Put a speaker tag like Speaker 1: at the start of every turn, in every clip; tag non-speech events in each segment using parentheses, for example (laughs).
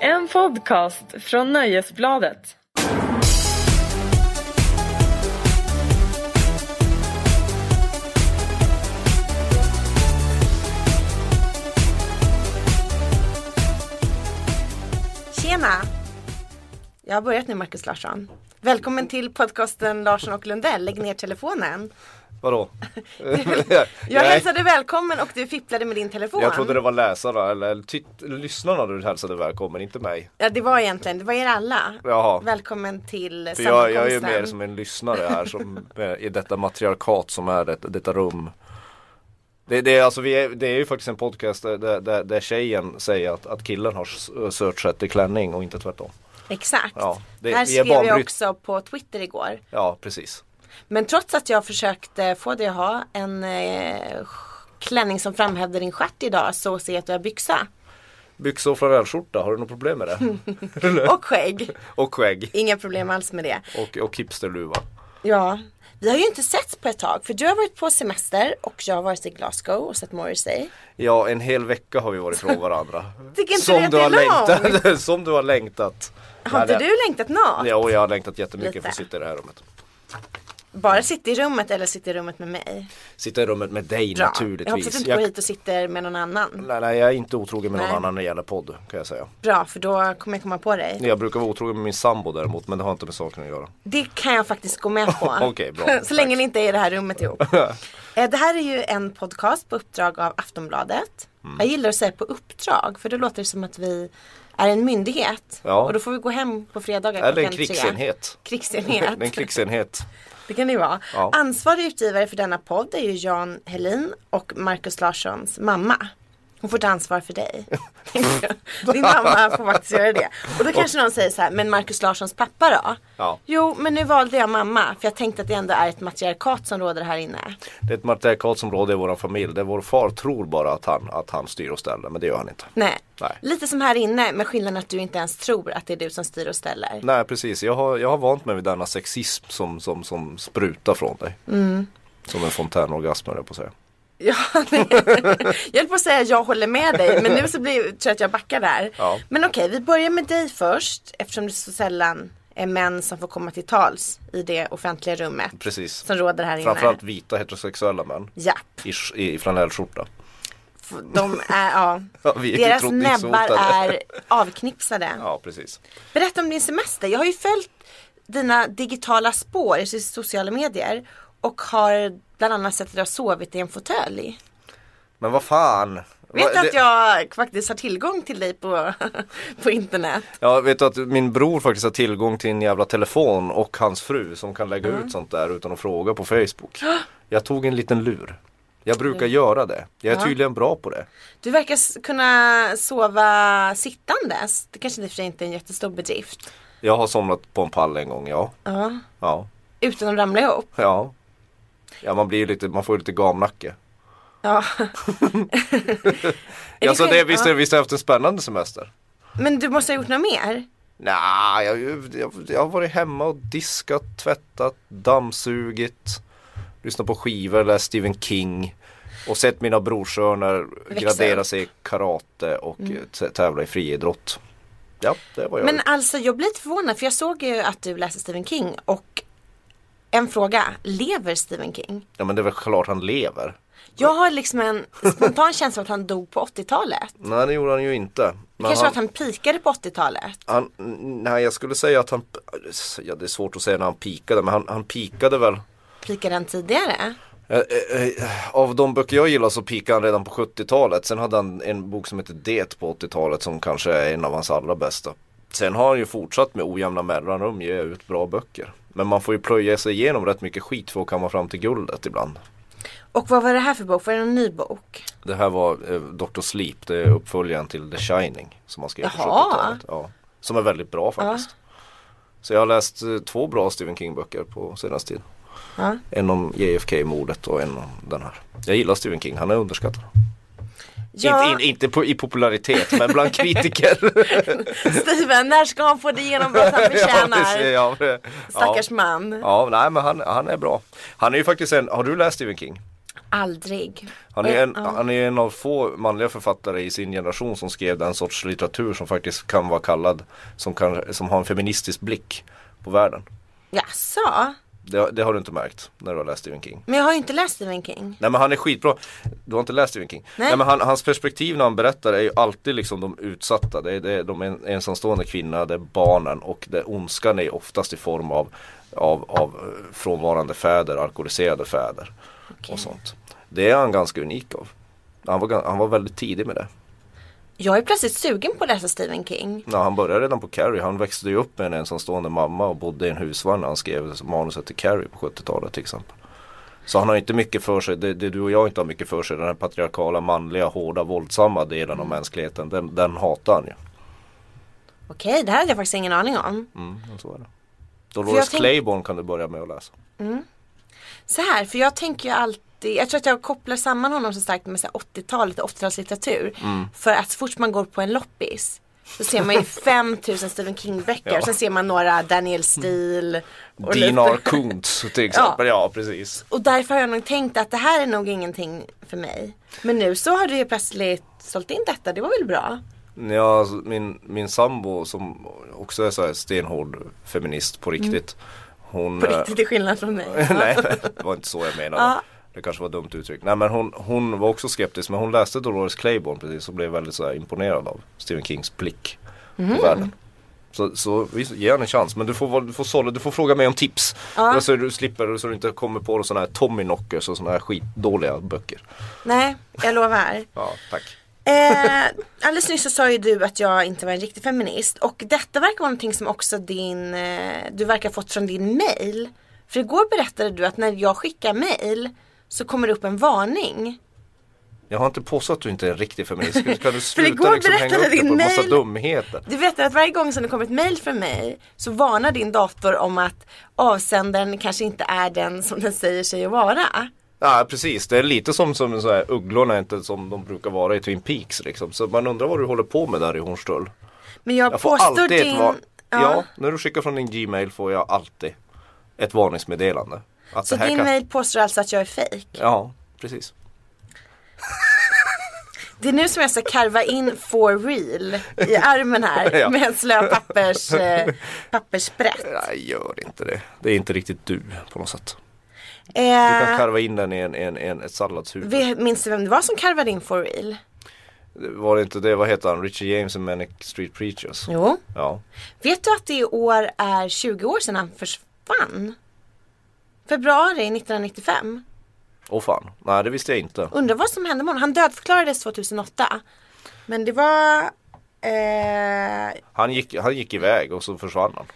Speaker 1: En podcast från Nöjesbladet.
Speaker 2: Tjena! Jag har börjat nu Markus Larsson. Välkommen till podcasten Larsson och Lundell, lägg ner telefonen.
Speaker 3: Vadå? (laughs)
Speaker 2: Jag
Speaker 3: Nej,
Speaker 2: hälsade välkommen och du fipplade med din telefon.
Speaker 3: jag trodde det var läsarna eller titt- lyssnarna du hälsade välkommen, inte mig.
Speaker 2: Ja det var egentligen, det var er alla.
Speaker 3: Jaha.
Speaker 2: Välkommen till
Speaker 3: För jag, jag är ju
Speaker 2: sammankomsten.
Speaker 3: mer som en lyssnare här som, eh, i detta matriarkat som är det, detta rum. Det, det, är alltså, vi är, det är ju faktiskt en podcast där, där- där, där tjejen säger att, att killen har s- search efter klänning och inte tvärtom.
Speaker 2: Exakt.
Speaker 3: Ja, det-
Speaker 2: det här
Speaker 3: vi är
Speaker 2: skrev jag
Speaker 3: banbryt-
Speaker 2: också på Twitter igår.
Speaker 3: Ja, precis.
Speaker 2: Men trots att jag försökte få dig att ha en eh, klänning som framhävde din stjärt idag så ser jag att du har byxa.
Speaker 3: Byxor och flanellskjorta, har du något problem med det?
Speaker 2: Och skägg.
Speaker 3: och skägg.
Speaker 2: Inga problem alls med det.
Speaker 3: Och, och hipsterluva.
Speaker 2: Ja, vi har ju inte setts på ett tag för du har varit på semester och jag har varit i Glasgow och sett Morrissey.
Speaker 3: Ja, en hel vecka har vi varit
Speaker 2: (laughs)
Speaker 3: ifrån varandra.
Speaker 2: Tycker inte
Speaker 3: som,
Speaker 2: du att
Speaker 3: du
Speaker 2: det
Speaker 3: har
Speaker 2: är långt?
Speaker 3: längtat, (laughs) som du har längtat.
Speaker 2: Har
Speaker 3: Nej,
Speaker 2: inte
Speaker 3: det-
Speaker 2: du längtat något?
Speaker 3: Ja, och jag har längtat jättemycket för att
Speaker 2: Lite.
Speaker 3: sitta i det här rummet.
Speaker 2: Bara sitta i rummet eller sitta i rummet med mig?
Speaker 3: Sitta i rummet med dig
Speaker 2: Bra. Jag hoppas att du
Speaker 3: naturligtvis.
Speaker 2: inte går hit och sitter med någon annan.
Speaker 3: nej, nej, jag är inte otrogen med någon
Speaker 2: Nej.
Speaker 3: annan när det gäller podd kan jag säga.
Speaker 2: Bra, för då kommer jag komma på dig.
Speaker 3: Jag brukar vara otrogen med min sambo däremot, men det har inte med saken att göra.
Speaker 2: Det kan jag faktiskt gå med på.
Speaker 3: (laughs) Okej, bra.
Speaker 2: (laughs) Så länge
Speaker 3: Tack.
Speaker 2: ni inte är i det här rummet
Speaker 3: (laughs)
Speaker 2: ihop. Eh, det här är ju en podcast på uppdrag av Aftonbladet.
Speaker 3: Mm.
Speaker 2: Jag gillar att säga på uppdrag för då låter det som att vi är en myndighet.
Speaker 3: Ja.
Speaker 2: Och då får vi gå hem på fredagar
Speaker 3: Eller en
Speaker 2: klockan tre.
Speaker 3: krigsenhet.
Speaker 2: Krigsenhet.
Speaker 3: Det är (laughs) en krigsenhet.
Speaker 2: Det kan det ju vara.
Speaker 3: Ja.
Speaker 2: Ansvarig utgivare för denna podd är ju Jan Helin och Markus Larssons mamma. Hon får ta ansvar för
Speaker 3: (laughs)
Speaker 2: dig. Din mamma får faktiskt göra det. Och då kanske någon säger så här, men Markus Larssons pappa då?
Speaker 3: Ja.
Speaker 2: Jo, men nu valde jag mamma. För jag tänkte att det ändå är ett matriarkat som råder här inne.
Speaker 3: Det är ett matriarkatsområde i vår familj där vår far tror bara att han, att han styr och ställer, men det gör han inte.
Speaker 2: Nej.
Speaker 3: Nej.
Speaker 2: Lite som här inne, med skillnaden att du inte ens tror att det är du som styr och ställer.
Speaker 3: Nej precis, jag har, jag har vant mig vid denna sexism som, som, som sprutar från dig.
Speaker 2: Mm.
Speaker 3: Som en fontänorgasm höll jag på att säga.
Speaker 2: Ja, nej. jag höll på att säga jag håller med dig men nu så blir, tror jag att jag backar där.
Speaker 3: Ja.
Speaker 2: Men okej, vi börjar med dig först eftersom det så sällan är män som får komma till tals i det offentliga rummet
Speaker 3: Precis.
Speaker 2: som råder här inne.
Speaker 3: Framförallt vita heterosexuella män
Speaker 2: Japp,
Speaker 3: i, sh- i flanellskjorta.
Speaker 2: f- de är, ja.
Speaker 3: (laughs) Ja, vi är ju
Speaker 2: Deras
Speaker 3: trotningshotade.
Speaker 2: näbbar är avknipsade.
Speaker 3: Ja precis.
Speaker 2: Berätta om din semester. Jag har ju följt dina digitala spår i sociala medier och har bland annat sett att du har sovit i en fåtölj.
Speaker 3: Men vad fan.
Speaker 2: Vet du
Speaker 3: Vad-
Speaker 2: att
Speaker 3: det-
Speaker 2: jag faktiskt har tillgång till dig på, (laughs) på internet?
Speaker 3: Ja, vet du att min bror faktiskt har tillgång till en jävla telefon och hans fru som kan lägga
Speaker 2: Mm.
Speaker 3: ut sånt där utan att fråga på Facebook.
Speaker 2: (gasps)
Speaker 3: Jag tog en liten lur. Jag
Speaker 2: Mm.
Speaker 3: brukar göra det. Jag är tydligen bra på det.
Speaker 2: Du verkar s- kunna sova sittandes. Det kanske i och för sig inte är en jättestor bedrift.
Speaker 3: Jag har somnat på en pall en gång, ja.
Speaker 2: Ja.
Speaker 3: Ja,
Speaker 2: Utan att ramla ihop.
Speaker 3: ja. Ja, man blir ju lite, man får ju lite gamnacke. (laughs)
Speaker 2: Ja. Är
Speaker 3: Alltså det,
Speaker 2: själv-
Speaker 3: visst,
Speaker 2: ja.
Speaker 3: visst har jag haft en spännande semester?
Speaker 2: Men du måste ha gjort något mer.
Speaker 3: Nej, jag, jag, jag har varit hemma och diskat, tvättat, dammsugit, lyssnat på skivor, läst Stephen King och sett mina brorsöner
Speaker 2: Växa Mm.
Speaker 3: gradera sig i karate och eh, tä- tävla i friidrott. Ja, det var jag.
Speaker 2: Men alltså jag blir lite förvånad för jag såg ju att du läste Stephen King och en fråga, lever Stephen King?
Speaker 3: Ja, men det är väl klart han lever.
Speaker 2: Jag har liksom en spontan (laughs) känsla av att han dog på 80-talet.
Speaker 3: Nej, det gjorde han ju inte. Men
Speaker 2: Kanske var att han pikade på 80-talet.
Speaker 3: han, nej, jag skulle säga att han, ja det är svårt att säga när han pikade, men han, han pikade väl
Speaker 2: Pikade han tidigare?
Speaker 3: Eh, eh, eh, Av de böcker jag gillar så pikade han redan på 70-talet. Sen hade han en bok som heter Det på 80-talet som kanske är en av hans allra bästa. Sen har han ju fortsatt med ojämna mellanrum ge ut bra böcker. Men man får ju plöja sig igenom rätt mycket skit för att komma fram till guldet ibland.
Speaker 2: Och vad var det här för bok? Var det en ny bok?
Speaker 3: Det här var eh, Dr. Sleep, det är uppföljaren till The Shining som han skrev på
Speaker 2: Jaha.
Speaker 3: 70-talet. Ja, som är väldigt bra faktiskt. Så jag har läst eh, två bra Stephen King-böcker på senaste tiden.
Speaker 2: Ja.
Speaker 3: En om JFK-mordet och en om den här. Jag gillar Stephen King, han är underskattad.
Speaker 2: Ja,
Speaker 3: Inte, in, inte på, i popularitet men bland kritiker.
Speaker 2: (laughs) Steven, när ska han få det genombrott
Speaker 3: (laughs)
Speaker 2: han (laughs)
Speaker 3: precis,
Speaker 2: förtjänar?
Speaker 3: ja, det-
Speaker 2: Stackars
Speaker 3: ja.
Speaker 2: man.
Speaker 3: Ja, nej men han, han är bra. Han är ju faktiskt en, har du läst Stephen King?
Speaker 2: Aldrig.
Speaker 3: Han är, en, han är en av få manliga författare i sin generation som skrev den sorts litteratur som faktiskt kan vara kallad som, kan, som har en feministisk blick på världen.
Speaker 2: Jaså?
Speaker 3: Det, det har du inte märkt när du har läst Stephen King.
Speaker 2: Men jag har ju inte läst Stephen King.
Speaker 3: Mm. Nej men han är skitbra. Du har inte läst Stephen King.
Speaker 2: Nej.
Speaker 3: Nej, men han, hans perspektiv när han berättar är ju alltid liksom de utsatta. Det är, det är de en, ensamstående kvinnorna, det är barnen och det, ondskan är oftast i form av, av, av eh, frånvarande fäder, alkoholiserade fäder och sånt. Det är han ganska unik av. Han var, gan- han var väldigt tidig med det.
Speaker 2: Jag är plötsligt sugen på att läsa Stephen King.
Speaker 3: Ja, han började redan på Carrie. Han växte ju upp med en ensamstående mamma och bodde i en husvagn när han skrev manuset till Carrie på 70-talet till exempel. Så han har inte mycket för sig, det, det du och jag inte har mycket för sig, den här patriarkala, manliga, hårda, våldsamma delen
Speaker 2: Mm.
Speaker 3: av mänskligheten, den, den hatar han ju.
Speaker 2: Okej, det här hade jag faktiskt ingen aning om.
Speaker 3: Mm, och så är det. Dolores
Speaker 2: tänk-
Speaker 3: Claiborne kan du börja med att läsa.
Speaker 2: Så här, för jag tänker ju alltid, jag tror att jag kopplar samman honom så starkt med så här 80-talet och 80-talslitteratur.
Speaker 3: Mm.
Speaker 2: För att så fort man går på en loppis så ser
Speaker 3: (laughs)
Speaker 2: man ju 5000 Stephen King-böcker.
Speaker 3: Ja.
Speaker 2: Och sen ser man några Daniel Steele. och
Speaker 3: Dinar
Speaker 2: lite-
Speaker 3: Kuntz
Speaker 2: (laughs)
Speaker 3: till exempel, ja, precis.
Speaker 2: Och därför har jag nog tänkt att det här är nog ingenting för mig. Men nu så har du ju plötsligt sålt in detta, det var väl bra?
Speaker 3: Ja, alltså, min, min sambo som också är så här stenhård feminist på riktigt. Hon,
Speaker 2: Mm. På
Speaker 3: eh,
Speaker 2: riktigt till skillnad från (laughs) mig.
Speaker 3: nej, (laughs) det var inte så jag menade.
Speaker 2: Ja.
Speaker 3: Det kanske var ett dumt uttryck. Nej men hon, hon var också skeptisk men hon läste Dolores Claiborne precis och blev väldigt så här, imponerad av Stephen Kings blick
Speaker 2: Mhm.
Speaker 3: på världen. Så, så visst, ge henne en chans men du får, vara- du, får sålla, du får fråga mig om tips.
Speaker 2: Ja.
Speaker 3: Så du slipper så du inte kommer på sådana här Tommyknockers och sådana här skitdåliga böcker.
Speaker 2: Nej, jag lovar.
Speaker 3: Ja, tack.
Speaker 2: Eh, alldeles nyss så sa ju du att jag inte var en riktig feminist och detta verkar vara någonting som också din, eh, du verkar ha fått från din mail. För igår berättade du att när jag skickar mail så kommer det upp en varning.
Speaker 3: Jag har inte påstått att du inte är en riktig
Speaker 2: (laughs)
Speaker 3: feminist. Kan du
Speaker 2: igår
Speaker 3: sluta liksom hänga
Speaker 2: berättade
Speaker 3: upp dig på
Speaker 2: din
Speaker 3: en massa
Speaker 2: mail-
Speaker 3: dumheter?
Speaker 2: Du vet att varje gång som det kommer ett mail från mig så varnar din dator om att avsändaren kanske inte är den som den säger sig att vara.
Speaker 3: Ja precis, det är lite som, som så här, ugglorna inte som de brukar vara i Twin Peaks liksom. Så man undrar vad du håller på med där i Hornstull.
Speaker 2: Men jag,
Speaker 3: Jag får
Speaker 2: påstår
Speaker 3: alltid
Speaker 2: din...
Speaker 3: ett var- ja.
Speaker 2: ja,
Speaker 3: när du skickar från din Gmail får jag alltid ett varningsmeddelande. Att
Speaker 2: så
Speaker 3: det här
Speaker 2: din
Speaker 3: kan...
Speaker 2: mail påstår alltså att jag är fejk.
Speaker 3: Ja, precis.
Speaker 2: Det är nu som jag ska karva in for real i armen här
Speaker 3: (laughs) Ja.
Speaker 2: med en slö pappers,
Speaker 3: (laughs)
Speaker 2: eh, papperssprätt.
Speaker 3: Nej, gör inte det. Det är inte riktigt du på något sätt. Du kan
Speaker 2: Eh,
Speaker 3: karva in den i en, en, en, ett salladshuvud.
Speaker 2: vi- minns du vem det var som karvade in for real?
Speaker 3: Var det inte det, vad heter han, Richie James och Manic Street Preachers?
Speaker 2: Jo.
Speaker 3: Ja.
Speaker 2: Vet du att det i år är 20 år sedan han försvann? Februari 1995.
Speaker 3: Åh fan, nej det visste jag inte.
Speaker 2: Undrar vad som hände med honom. Han dödförklarades 2008. Men det var... Eh,
Speaker 3: Han gick, han gick iväg och så försvann han.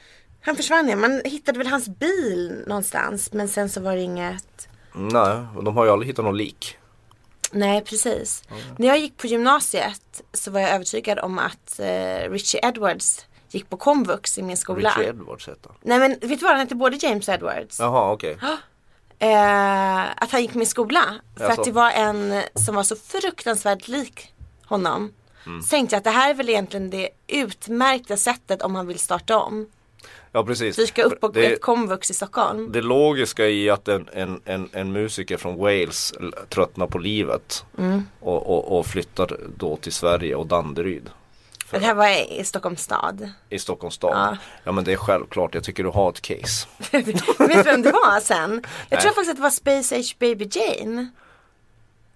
Speaker 2: han försvann ja. Man hittade väl hans bil någonstans. Men sen så var det inget
Speaker 3: Nej, och de har ju aldrig hittat någon lik.
Speaker 2: Nej precis. När jag gick på gymnasiet så var jag övertygad om att eh, Richie Edwards gick på komvux i min skola.
Speaker 3: Richie Edwards hette han.
Speaker 2: Nej men vet du vad han hette både James Edwards?
Speaker 3: Jaha okej.
Speaker 2: Eh, att han gick i min skola. För
Speaker 3: Jaså.
Speaker 2: att det var en som var så fruktansvärt lik honom.
Speaker 3: Mm.
Speaker 2: Så tänkte jag att det här är väl egentligen det utmärkta sättet om han vill starta om.
Speaker 3: Ja precis.
Speaker 2: Dyka upp på
Speaker 3: det,
Speaker 2: ett komvux i Stockholm.
Speaker 3: det logiska i att en, en, en, en musiker från Wales l- tröttnar på livet
Speaker 2: Mm.
Speaker 3: och, och, och flyttar då till Sverige och Danderyd
Speaker 2: Det här var i Stockholms stad.
Speaker 3: i Stockholms stad.
Speaker 2: Ja.
Speaker 3: Ja. men det är självklart, jag tycker du har ett case.
Speaker 2: (laughs) Vet du vem det var sen? Jag
Speaker 3: Nej.
Speaker 2: tror faktiskt att det var Space Age Baby Jane.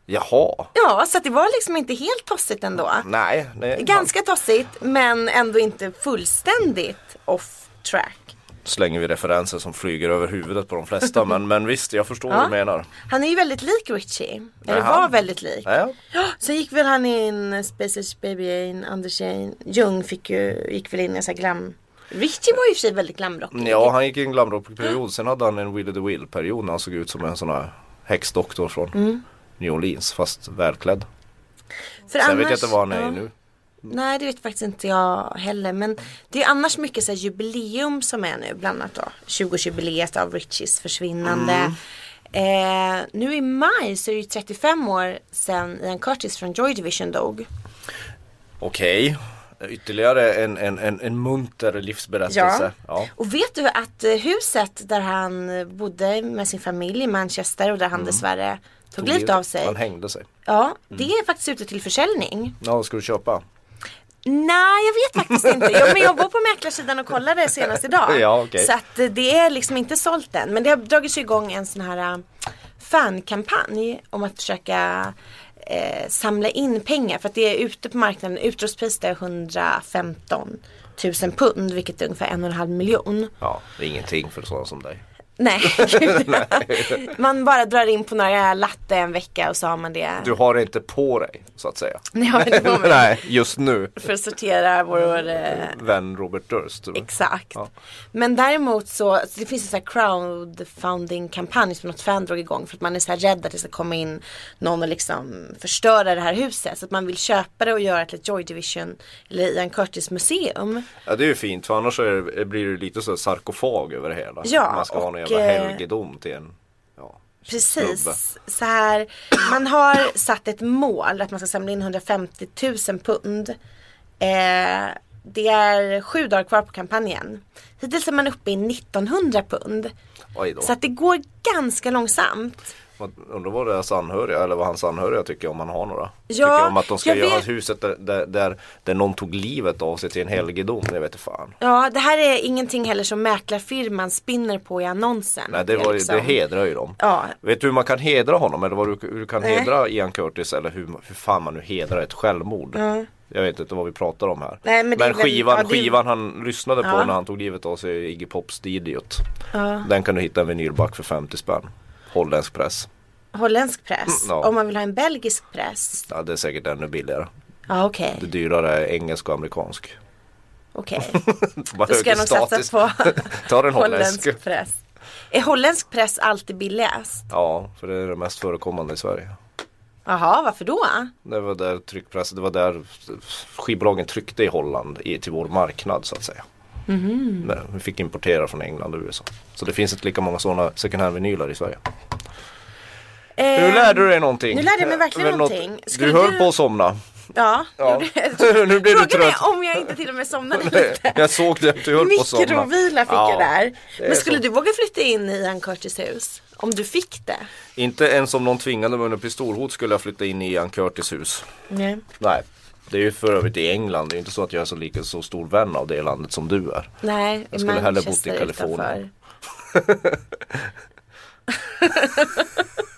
Speaker 3: Jaha,
Speaker 2: Ja, så att det var liksom inte helt tossigt ändå.
Speaker 3: nej. nej.
Speaker 2: Ganska tossigt, men ändå inte fullständigt off track.
Speaker 3: Slänger vi referenser som flyger över huvudet på
Speaker 2: (laughs)
Speaker 3: de flesta men, men visst, jag förstår vad du menar.
Speaker 2: Han är ju väldigt lik Richie. Eller
Speaker 3: Jaha.
Speaker 2: var väldigt lik.
Speaker 3: Ja,
Speaker 2: Ja, så gick väl han in, Spaces Baby Jane, Anders Jane. Jung fick ju, gick väl in i en sån här glam... Richie var ju i och för sig väldigt glamrockig.
Speaker 3: ja han gick i en glamrockperiod, sen hade han en Willy the Will period när han såg ut som en sån här häxdoktor från
Speaker 2: Mm.
Speaker 3: New Orleans fast välklädd.
Speaker 2: För
Speaker 3: Sen vet jag inte vad han är
Speaker 2: ja.
Speaker 3: i nu.
Speaker 2: Nej, det vet faktiskt inte jag heller. Men det är annars mycket så här jubileum som är nu. Bland annat då 20-årsjubileet av Richies försvinnande. Eh, nu i maj så är det ju 35 år sedan Ian Curtis från Joy Division dog.
Speaker 3: Okej. Ytterligare en, en, en, en munter livsberättelse. Ja.
Speaker 2: Och vet du att eh, huset där han eh, bodde med sin familj i Manchester och där han dessvärre Mm. tog, livet av Mm. sig.
Speaker 3: Han hängde sig.
Speaker 2: Ja, det är faktiskt ute till försäljning.
Speaker 3: Ja, vad ska du köpa?
Speaker 2: Nej, jag vet faktiskt inte. Jag, men jag var på mäklarsidan och kollade senast idag.
Speaker 3: Ja, okej.
Speaker 2: Så att eh, det är liksom inte sålt än. Men det har dragits igång en sån här eh, fankampanj om att försöka eh, samla in pengar. För att det är ute på marknaden, utrustpriset är 115 000 pund, vilket är ungefär en och en halv miljon.
Speaker 3: Ja, det är ingenting för sådana som dig.
Speaker 2: Nej, (laughs) gud. man bara drar in på några latte en vecka och så har man det.
Speaker 3: Du har det inte på dig, så att säga.
Speaker 2: Ni har det på mig
Speaker 3: (laughs) Nej, just nu.
Speaker 2: för att sortera vår, eh,
Speaker 3: Vän Robert Durst. tror jag.
Speaker 2: exakt.
Speaker 3: Ja.
Speaker 2: Men däremot så, så det finns en sån här crowdfunding-kampanj som något fan drog igång för att man är så här rädd att det ska komma in någon och liksom förstöra det här huset. Så att man vill köpa det och göra det till ett Joy Division eller Ian Curtis museum.
Speaker 3: Ja, det är ju fint för annars är det, blir det lite så här sarkofag över det hela.
Speaker 2: Ja,
Speaker 3: Man ska ha någon
Speaker 2: och,
Speaker 3: jävla
Speaker 2: eh,
Speaker 3: helgedom till en. Ja, snubbe.
Speaker 2: Precis, så här, man har satt ett mål att man ska samla in 150 000 pund. Eh, det är sju dagar kvar på kampanjen. Hittills är man uppe i 1900 pund.
Speaker 3: Oj då.
Speaker 2: Så att det går ganska långsamt.
Speaker 3: Man undrar vad deras anhöriga eller vad hans anhöriga tycker om han har några.
Speaker 2: Ja,
Speaker 3: tycker om att de ska
Speaker 2: jag
Speaker 3: göra
Speaker 2: vet-
Speaker 3: huset där, där, där, där någon tog livet av sig till en helgedom. Jag vet inte fan.
Speaker 2: Ja, det här är ingenting heller som mäklarfirman spinner på i annonsen.
Speaker 3: Nej, det,
Speaker 2: är
Speaker 3: var, ju-
Speaker 2: liksom-
Speaker 3: det hedrar ju dem.
Speaker 2: Ja.
Speaker 3: Vet du hur man kan hedra honom eller vad du, hur du kan
Speaker 2: Nej.
Speaker 3: hedra Ian Curtis eller hur, hur fan man nu hedrar ett självmord. Jag vet inte vad vi pratar om här.
Speaker 2: Nej, men det är väl-
Speaker 3: skivan,
Speaker 2: ja, det är-
Speaker 3: skivan han lyssnade på
Speaker 2: Ja.
Speaker 3: när han tog livet av sig Iggy Pops The Idiot.
Speaker 2: Ja.
Speaker 3: Den kan du hitta en vinylback för 50 spänn. Holländsk press.
Speaker 2: Holländsk press.
Speaker 3: Mm, ja.
Speaker 2: Om man vill ha en belgisk press.
Speaker 3: Ja, det är säkert ännu billigare.
Speaker 2: Ja, okej.
Speaker 3: Det dyrare är engelsk och amerikansk.
Speaker 2: Okej.
Speaker 3: (laughs) Bara
Speaker 2: Då Mm. ska jag nog satsa på
Speaker 3: Ta den (laughs) holländsk.
Speaker 2: holländsk press. Är holländsk press alltid billigast?
Speaker 3: Ja, för det är det mest förekommande i Sverige.
Speaker 2: Jaha, varför då?
Speaker 3: Det var där tryckpressen, det var där skivbolagen tryckte i Holland i, till vår marknad så att säga.
Speaker 2: Mhm.
Speaker 3: Men vi fick importera från England och USA. Så det finns inte lika många sådana second hand vinyler i Sverige. nu
Speaker 2: Eh,
Speaker 3: lärde du dig någonting.
Speaker 2: nu lärde jag mig verkligen
Speaker 3: Väl något-
Speaker 2: någonting. Skulle
Speaker 3: Du höll
Speaker 2: du-
Speaker 3: på att somna.
Speaker 2: Ja,
Speaker 3: Ja.
Speaker 2: gjorde jag.
Speaker 3: (laughs) nu blir du
Speaker 2: Frågan
Speaker 3: trött.
Speaker 2: är om jag inte till och med somnade lite.
Speaker 3: (laughs) Jag såg det, att du höll på att somna.
Speaker 2: Mikrovila fick
Speaker 3: Ja.
Speaker 2: jag där.
Speaker 3: det är
Speaker 2: Men skulle
Speaker 3: så.
Speaker 2: du våga flytta in i Ian Curtis hus? Om du fick det?
Speaker 3: Inte ens om någon tvingade mig under pistolhot skulle jag flytta in i Ian Curtis hus.
Speaker 2: Nej.
Speaker 3: Nej, det är ju för övrigt i England. Det är ju inte så att jag är så, lika, så stor vän av det landet som du är.
Speaker 2: Nej,
Speaker 3: Jag skulle hellre bott i
Speaker 2: Manchester
Speaker 3: Kalifornien.
Speaker 2: utanför.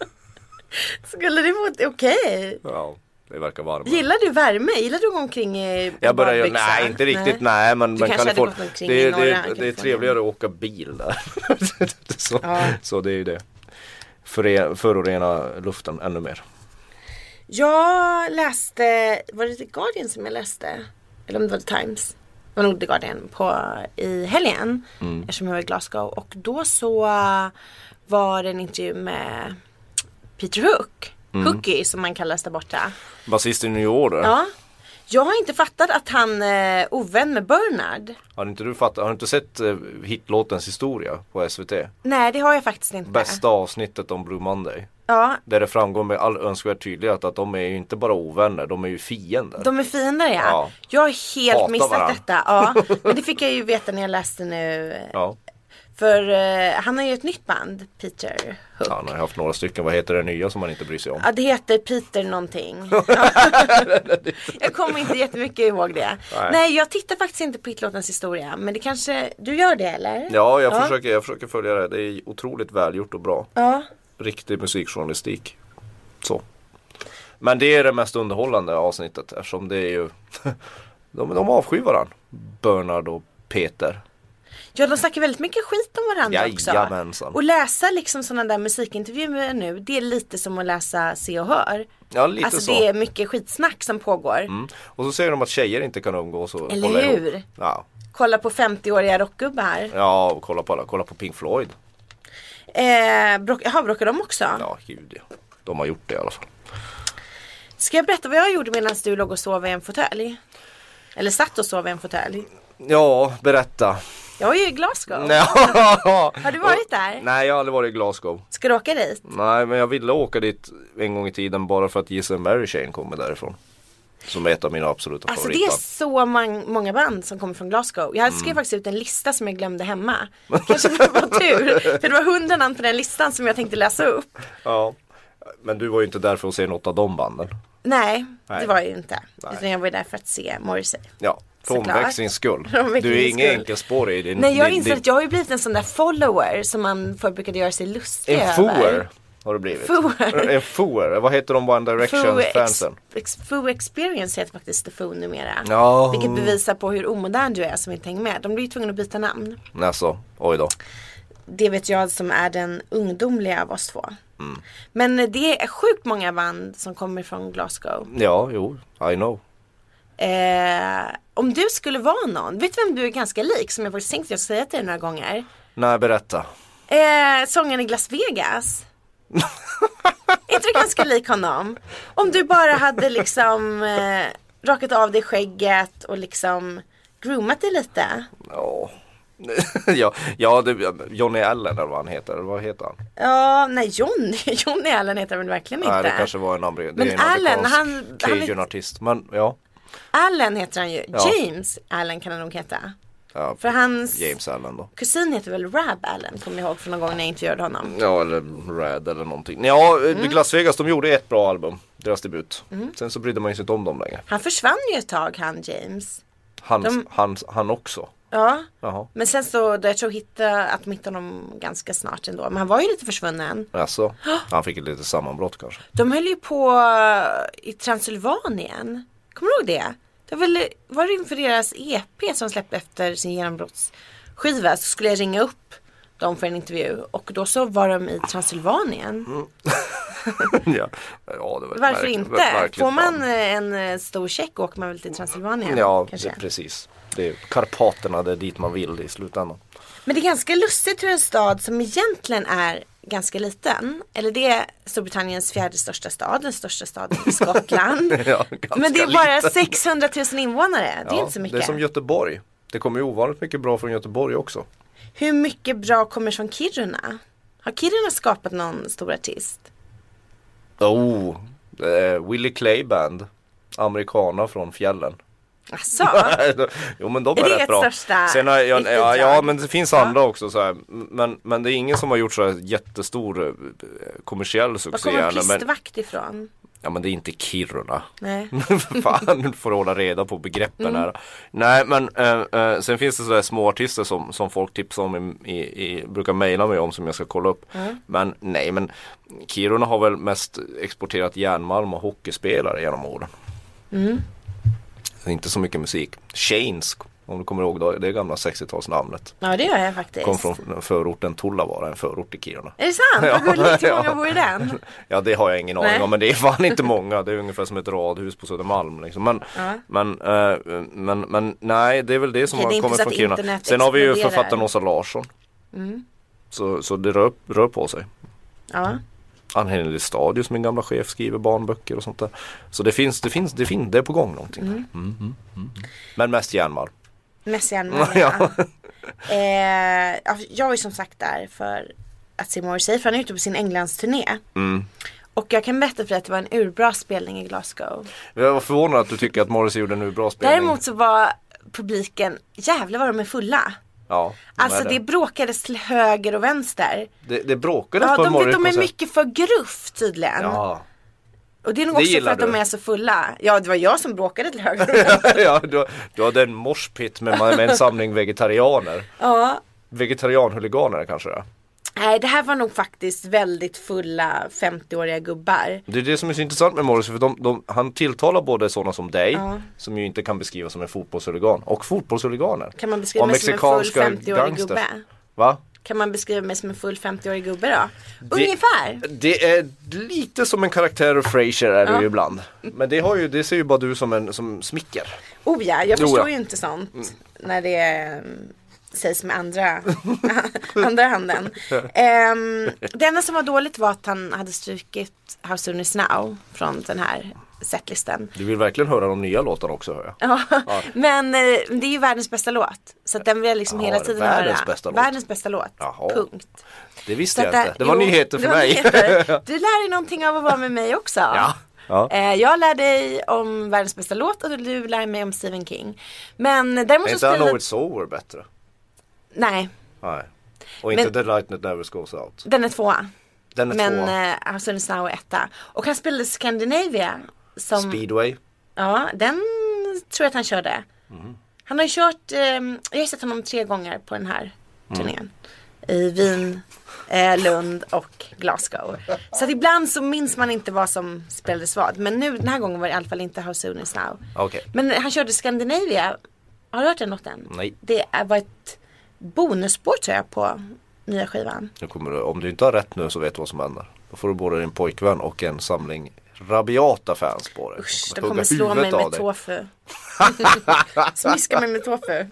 Speaker 2: (laughs) skulle du bott, okej.
Speaker 3: Ja, det verkar varmt.
Speaker 2: Gillar du värme? Gillar du att gå omkring i
Speaker 3: Jag börjar ju,
Speaker 2: badbyxor?
Speaker 3: nej inte riktigt, nej, men, men
Speaker 2: kanske hade
Speaker 3: Kalifornien,
Speaker 2: gått omkring
Speaker 3: det,
Speaker 2: i
Speaker 3: är-
Speaker 2: norra
Speaker 3: det, är- det är
Speaker 2: Kalifornien.
Speaker 3: trevligare att åka bil där. (laughs) så,
Speaker 2: Ja.
Speaker 3: så det är ju det. Före- Förorena luften ännu mer.
Speaker 2: Jag läste, var det The Guardian som jag läste? Eller om det var The Times. Det var nog The Guardian på, i helgen.
Speaker 3: Mm.
Speaker 2: Eftersom jag var i Glasgow. Och då så äh, var det en intervju med Peter Hook.
Speaker 3: Mm.
Speaker 2: Hookie som man kallas där borta.
Speaker 3: Basist i New Order,
Speaker 2: Ja. Jag har inte fattat att han är ovän med Bernard.
Speaker 3: har, inte du fattat, har du inte sett eh, hitlåtens historia på SVT?
Speaker 2: Nej det har jag faktiskt inte.
Speaker 3: Bästa avsnittet om Blue Monday.
Speaker 2: Ja.
Speaker 3: Där det framgår med all önskvärd tydlighet att de är ju inte bara ovänner, de är ju fiender.
Speaker 2: De är fiender ja.
Speaker 3: Ja.
Speaker 2: Jag har helt
Speaker 3: Hatar
Speaker 2: missat
Speaker 3: varandra.
Speaker 2: detta.
Speaker 3: (laughs)
Speaker 2: Ja. Men det fick jag ju veta när jag läste nu.
Speaker 3: Ja,
Speaker 2: För eh, han har ju ett nytt band, Peter Hook.
Speaker 3: han har ju haft några stycken, vad heter det nya som man inte bryr sig om?
Speaker 2: Ja det heter Peter
Speaker 3: (laughs)
Speaker 2: någonting. jag kommer inte jättemycket ihåg det.
Speaker 3: Nej.
Speaker 2: Nej, jag tittar faktiskt inte på hitlåtens historia. Men det kanske, du gör det eller?
Speaker 3: Ja, jag,
Speaker 2: Ja.
Speaker 3: Försöker, jag försöker följa det. Det är otroligt välgjort och bra.
Speaker 2: Ja.
Speaker 3: Riktig musikjournalistik. Så. Men det är det mest underhållande avsnittet eftersom det är ju (laughs) De, de avskyr varandra Bernard och Peter.
Speaker 2: Ja de snackar väldigt mycket skit om varandra också.
Speaker 3: Jajamensan.
Speaker 2: Och läsa liksom sådana där musikintervjuer nu, det är lite som att läsa Se och Hör.
Speaker 3: Ja, lite
Speaker 2: alltså
Speaker 3: så.
Speaker 2: det är mycket skitsnack som pågår.
Speaker 3: Mm. Och så säger de att tjejer inte kan umgås och
Speaker 2: Eller
Speaker 3: hålla
Speaker 2: hur?
Speaker 3: Ihop. Ja.
Speaker 2: Kolla på 50-åriga rockgubbar.
Speaker 3: ja, och kolla på alla. Kolla på Pink Floyd.
Speaker 2: Eh, brock, jaha, bråkar de också?
Speaker 3: Ja, gud ja. De har gjort det i alla fall.
Speaker 2: Ska jag berätta vad jag gjorde medan du låg och sov i en fåtölj? Eller satt och sov i en fåtölj.
Speaker 3: Ja, berätta. (laughs)
Speaker 2: Jag var ju i Glasgow.
Speaker 3: har
Speaker 2: du varit där?
Speaker 3: Nej, jag har aldrig varit i Glasgow.
Speaker 2: Ska du åka dit?
Speaker 3: Nej men jag ville åka dit en gång i tiden bara för att Gissa Mary Chain kommer därifrån. Som är ett av mina absoluta
Speaker 2: Alltså det är
Speaker 3: favoritband. Mm.
Speaker 2: så mang- många band som kommer från Glasgow. Jag skrev faktiskt ut en lista som jag glömde
Speaker 3: (laughs)
Speaker 2: hemma. Kanske för att det var tur. För det var hundra namn på den listan som jag tänkte läsa upp.
Speaker 3: Ja. Men du var ju inte där för att se något av de banden.
Speaker 2: Nej,
Speaker 3: Nej.
Speaker 2: det var jag ju inte.
Speaker 3: Nej.
Speaker 2: Utan jag var ju där för att se Morrissey.
Speaker 3: Ja, för
Speaker 2: Såklart.
Speaker 3: omväxlings skull.
Speaker 2: För omväxlings
Speaker 3: Du är ingen
Speaker 2: skull.
Speaker 3: enkelspårig i din...
Speaker 2: Nej jag
Speaker 3: din,
Speaker 2: inser att jag har ju blivit en sån där follower som man förr brukade göra sig lustig
Speaker 3: En
Speaker 2: över.
Speaker 3: foer har du blivit.
Speaker 2: Foer.
Speaker 3: En foer. Vad heter de One
Speaker 2: Foo, ex,
Speaker 3: Direction-fansen?
Speaker 2: ex, Foo Experience heter faktiskt The Foo numera.
Speaker 3: Ja.
Speaker 2: Vilket bevisar på hur omodern du är som inte hänger med. De blir ju tvungna att byta namn.
Speaker 3: Alltså, oj då.
Speaker 2: Det vet jag som är den ungdomliga av oss två.
Speaker 3: Mm.
Speaker 2: Men det är sjukt många band som kommer från Glasgow.
Speaker 3: Ja, jo, I know.
Speaker 2: Eh, om du skulle vara någon, vet du vem du är ganska lik som jag faktiskt tänkt jag ska säga till dig några gånger?
Speaker 3: Nej, berätta.
Speaker 2: Eh, sångaren i Las
Speaker 3: (laughs)
Speaker 2: Vegas. är inte du ganska lik honom? Om du bara hade liksom eh, rakat av dig skägget och liksom groomat dig lite.
Speaker 3: Ja, (laughs) ja, ja det, Johnny Allen eller vad han heter. Vad heter han?
Speaker 2: Ja, nej Johnny, (laughs) Johnny Allen heter han verkligen inte.
Speaker 3: Nej, det kanske var en, ameri- det
Speaker 2: Men
Speaker 3: är en
Speaker 2: Allen,
Speaker 3: amerikansk
Speaker 2: han- han är-
Speaker 3: Cajun-artist. Men ja,
Speaker 2: Allen heter han ju.
Speaker 3: Ja.
Speaker 2: James Allen kan han nog heta.
Speaker 3: ja
Speaker 2: För hans
Speaker 3: James Allen då.
Speaker 2: kusin heter väl Rab Allen kommer jag ihåg från någon gång när jag intervjuade honom.
Speaker 3: Ja, eller Rad eller någonting. Ja, mm. Las Vegas, de gjorde ett bra album. Deras debut.
Speaker 2: Mm.
Speaker 3: Sen så brydde man sig inte om dem längre.
Speaker 2: Han försvann ju ett tag han James.
Speaker 3: Han,
Speaker 2: De-
Speaker 3: han, han också.
Speaker 2: Ja.
Speaker 3: Jaha.
Speaker 2: Men sen så, jag tror hitta, att de hittade honom ganska snart ändå. Men han var ju lite försvunnen. (gasps)
Speaker 3: Alltså, han fick ett litet sammanbrott
Speaker 2: (laughs)
Speaker 3: kanske.
Speaker 2: De höll ju på eh, i Transylvanien. Kommer du ihåg det? Det var, väl, var det inför deras EP som släppte efter sin genombrottsskiva så skulle jag ringa upp dem för en intervju och då så var de i Transylvanien.
Speaker 3: ja. ja, det var ett
Speaker 2: Varför
Speaker 3: märk-
Speaker 2: inte?
Speaker 3: ett märkligt
Speaker 2: Får man
Speaker 3: band.
Speaker 2: eh, en eh, stor check åker man väl till Transylvanien?
Speaker 3: Ja,
Speaker 2: kanske.
Speaker 3: det, precis. Det är Karpaterna, det är dit man vill i slutändan.
Speaker 2: Men det är ganska lustigt hur en stad som egentligen är ganska liten, eller det är Storbritanniens fjärde största stad, den största staden i Skottland.
Speaker 3: (laughs) Ja, ganska
Speaker 2: Men det är bara
Speaker 3: liten.
Speaker 2: 600 000 invånare, det är inte så mycket.
Speaker 3: Det är som Göteborg. Det kommer ju ovanligt mycket bra från Göteborg också.
Speaker 2: Hur mycket bra kommer från Kiruna? Har Kiruna skapat någon stor artist?
Speaker 3: Oh, det är Willie Clay Band. Amerikaner från fjällen. (laughs)
Speaker 2: Alltså,
Speaker 3: jo men de
Speaker 2: Är
Speaker 3: är,
Speaker 2: det ert
Speaker 3: rätt bra.
Speaker 2: största
Speaker 3: Sen har jag,
Speaker 2: riktigt
Speaker 3: ja, ja
Speaker 2: drag?
Speaker 3: men det finns andra också så här. Men, men det är ingen som har gjort så här jättestor eh, kommersiell
Speaker 2: var
Speaker 3: succé.
Speaker 2: kommer
Speaker 3: ännu, men,
Speaker 2: Pistvakt ifrån?
Speaker 3: ja men det är inte Kiruna.
Speaker 2: Nej.
Speaker 3: (laughs) Fan, du får hålla reda på begreppen här. Nej men eh, eh, sen finns det sådär små artister som, som folk tipsar om i, i, i, brukar mejla mig om som jag ska kolla upp. Men nej men Kiruna har väl mest exporterat järnmalm och hockeyspelare genom åren. Så Inte så mycket musik. Shanes om du kommer ihåg då, det gamla 60-talsnamnet.
Speaker 2: Ja, det gör jag faktiskt.
Speaker 3: Kom från förorten Tullavara, en förort i Kiruna.
Speaker 2: Är det sant?
Speaker 3: (laughs) Ja.
Speaker 2: Vad gulligt, hur många
Speaker 3: Ja.
Speaker 2: bor i
Speaker 3: (laughs)
Speaker 2: den?
Speaker 3: Ja det har jag ingen
Speaker 2: Nej.
Speaker 3: aning om men det är fan inte många. Det är ungefär som ett radhus på Södermalm. Liksom. Men,
Speaker 2: Ja.
Speaker 3: men, eh, men, men nej det är väl det som
Speaker 2: Okej, det är inte
Speaker 3: har kommit
Speaker 2: så
Speaker 3: från
Speaker 2: att
Speaker 3: Kiruna.
Speaker 2: internet
Speaker 3: Sen har vi ju
Speaker 2: exploderar. Mm.
Speaker 3: författaren Åsa Larsson. Så, så det rör, rör på sig.
Speaker 2: Ja.
Speaker 3: Ann-Henrik Stadius min gamla chef skriver barnböcker och sånt där. Så det finns, det finns, det finns, det är på gång någonting. Mm. Mm, mm, mm. Men mest järnmalm. (laughs)
Speaker 2: Messian
Speaker 3: Ja.
Speaker 2: ja. eh, ja, Jag var ju som sagt där för att se Morrissey för han är ute på sin Englandsturné.
Speaker 3: Mm.
Speaker 2: Och jag kan berätta för dig att det var en urbra spelning i Glasgow.
Speaker 3: Jag var förvånad att du tycker att Morrissey gjorde en nu bra spelning.
Speaker 2: Däremot så var publiken, jävlar vad de är fulla.
Speaker 3: ja, de
Speaker 2: Alltså
Speaker 3: är
Speaker 2: det bråkades till höger och vänster.
Speaker 3: det, det bråkades
Speaker 2: Ja,
Speaker 3: på en
Speaker 2: de, de är
Speaker 3: Morrissey-konsert.
Speaker 2: mycket för gruff tydligen.
Speaker 3: Ja, (laughs)
Speaker 2: Och det är nog
Speaker 3: Det
Speaker 2: också för
Speaker 3: gillar
Speaker 2: att de
Speaker 3: du.
Speaker 2: är så fulla. Ja, det var jag som bråkade till höger och
Speaker 3: (laughs)
Speaker 2: vänster.
Speaker 3: ja du, du hade en morspitt med, med en samling vegetarianer.
Speaker 2: ja.
Speaker 3: Vegetarianhuliganer kanske det är.
Speaker 2: Nej, det här var nog faktiskt väldigt fulla 50-åriga gubbar.
Speaker 3: Det är det som är så intressant med Morrissey för de, de, han tilltalar både sådana som dig
Speaker 2: Ja.
Speaker 3: som ju inte kan beskrivas som en fotbollshuligan och fotbollshuliganer.
Speaker 2: Kan man beskriva
Speaker 3: Och
Speaker 2: mig som en full
Speaker 3: mexikanska
Speaker 2: 50-årig
Speaker 3: gangsters.
Speaker 2: gubbe?
Speaker 3: Va?
Speaker 2: Kan man beskriva mig som en full 50-årig gubbe då? Ungefär!
Speaker 3: Det är lite som en karaktär ur Frasier är du ju ibland. Men det, har ju, det ser ju bara du som en som smicker.
Speaker 2: Oh ja, jag
Speaker 3: Jo,
Speaker 2: förstår
Speaker 3: ja.
Speaker 2: ju inte sånt när det mm, sägs med
Speaker 3: (laughs)
Speaker 2: andra, andra handen. Um, det enda som var dåligt var att han hade strukit How soon is now från den här setlisten.
Speaker 3: Du vill verkligen höra de nya låtarna också hör jag.
Speaker 2: Ja, Men eh, det är ju världens bästa låt. Så att den vill jag liksom
Speaker 3: Ja,
Speaker 2: hela
Speaker 3: det är
Speaker 2: tiden
Speaker 3: världens
Speaker 2: höra.
Speaker 3: bästa låt.
Speaker 2: Världens bästa låt.
Speaker 3: Jaha.
Speaker 2: Punkt.
Speaker 3: Det visste
Speaker 2: Så att eh,
Speaker 3: jag inte. Det var
Speaker 2: jo,
Speaker 3: nyheter för
Speaker 2: det var
Speaker 3: (laughs) mig.
Speaker 2: nyheter. Du lär dig någonting av att vara med mig också.
Speaker 3: Ja. Ja.
Speaker 2: Eh, jag lär dig om världens bästa låt och du lär mig om Stephen King. Men däremot
Speaker 3: Är
Speaker 2: så
Speaker 3: inte I
Speaker 2: skulle...
Speaker 3: know it's over bättre?
Speaker 2: Nej,
Speaker 3: Nej. Och inte
Speaker 2: Men-
Speaker 3: The Lightning Never Goes Out.
Speaker 2: den är tvåa.
Speaker 3: Den är
Speaker 2: Men
Speaker 3: tvåa.
Speaker 2: eh, House of the Snow är etta. Och han spelade Scandinavia. Som,
Speaker 3: Speedway.
Speaker 2: Ja, den tror jag att han körde. Han har ju kört, ehm, jag har sett honom tre gånger på den här turnén. I Wien, eh, Lund och Glasgow. Så att ibland så minns man inte vad som spelades vad. Men nu den här gången var det i alla fall inte How soon is now.
Speaker 3: Okej.
Speaker 2: Men han körde Scandinavia. Har du hört den låten?
Speaker 3: Nej.
Speaker 2: Det är- var ett bonusspår tror jag på nya skivan.
Speaker 3: Nu kommer du, om du inte har rätt nu så vet du vad som händer. Då får du både din pojkvän och en samling rabiata fans på dig.
Speaker 2: Usch,
Speaker 3: De
Speaker 2: de kommer
Speaker 3: hugga
Speaker 2: slå mig
Speaker 3: huvudet av
Speaker 2: med
Speaker 3: dig.
Speaker 2: tofu. (laughs) Smiska mig med tofu.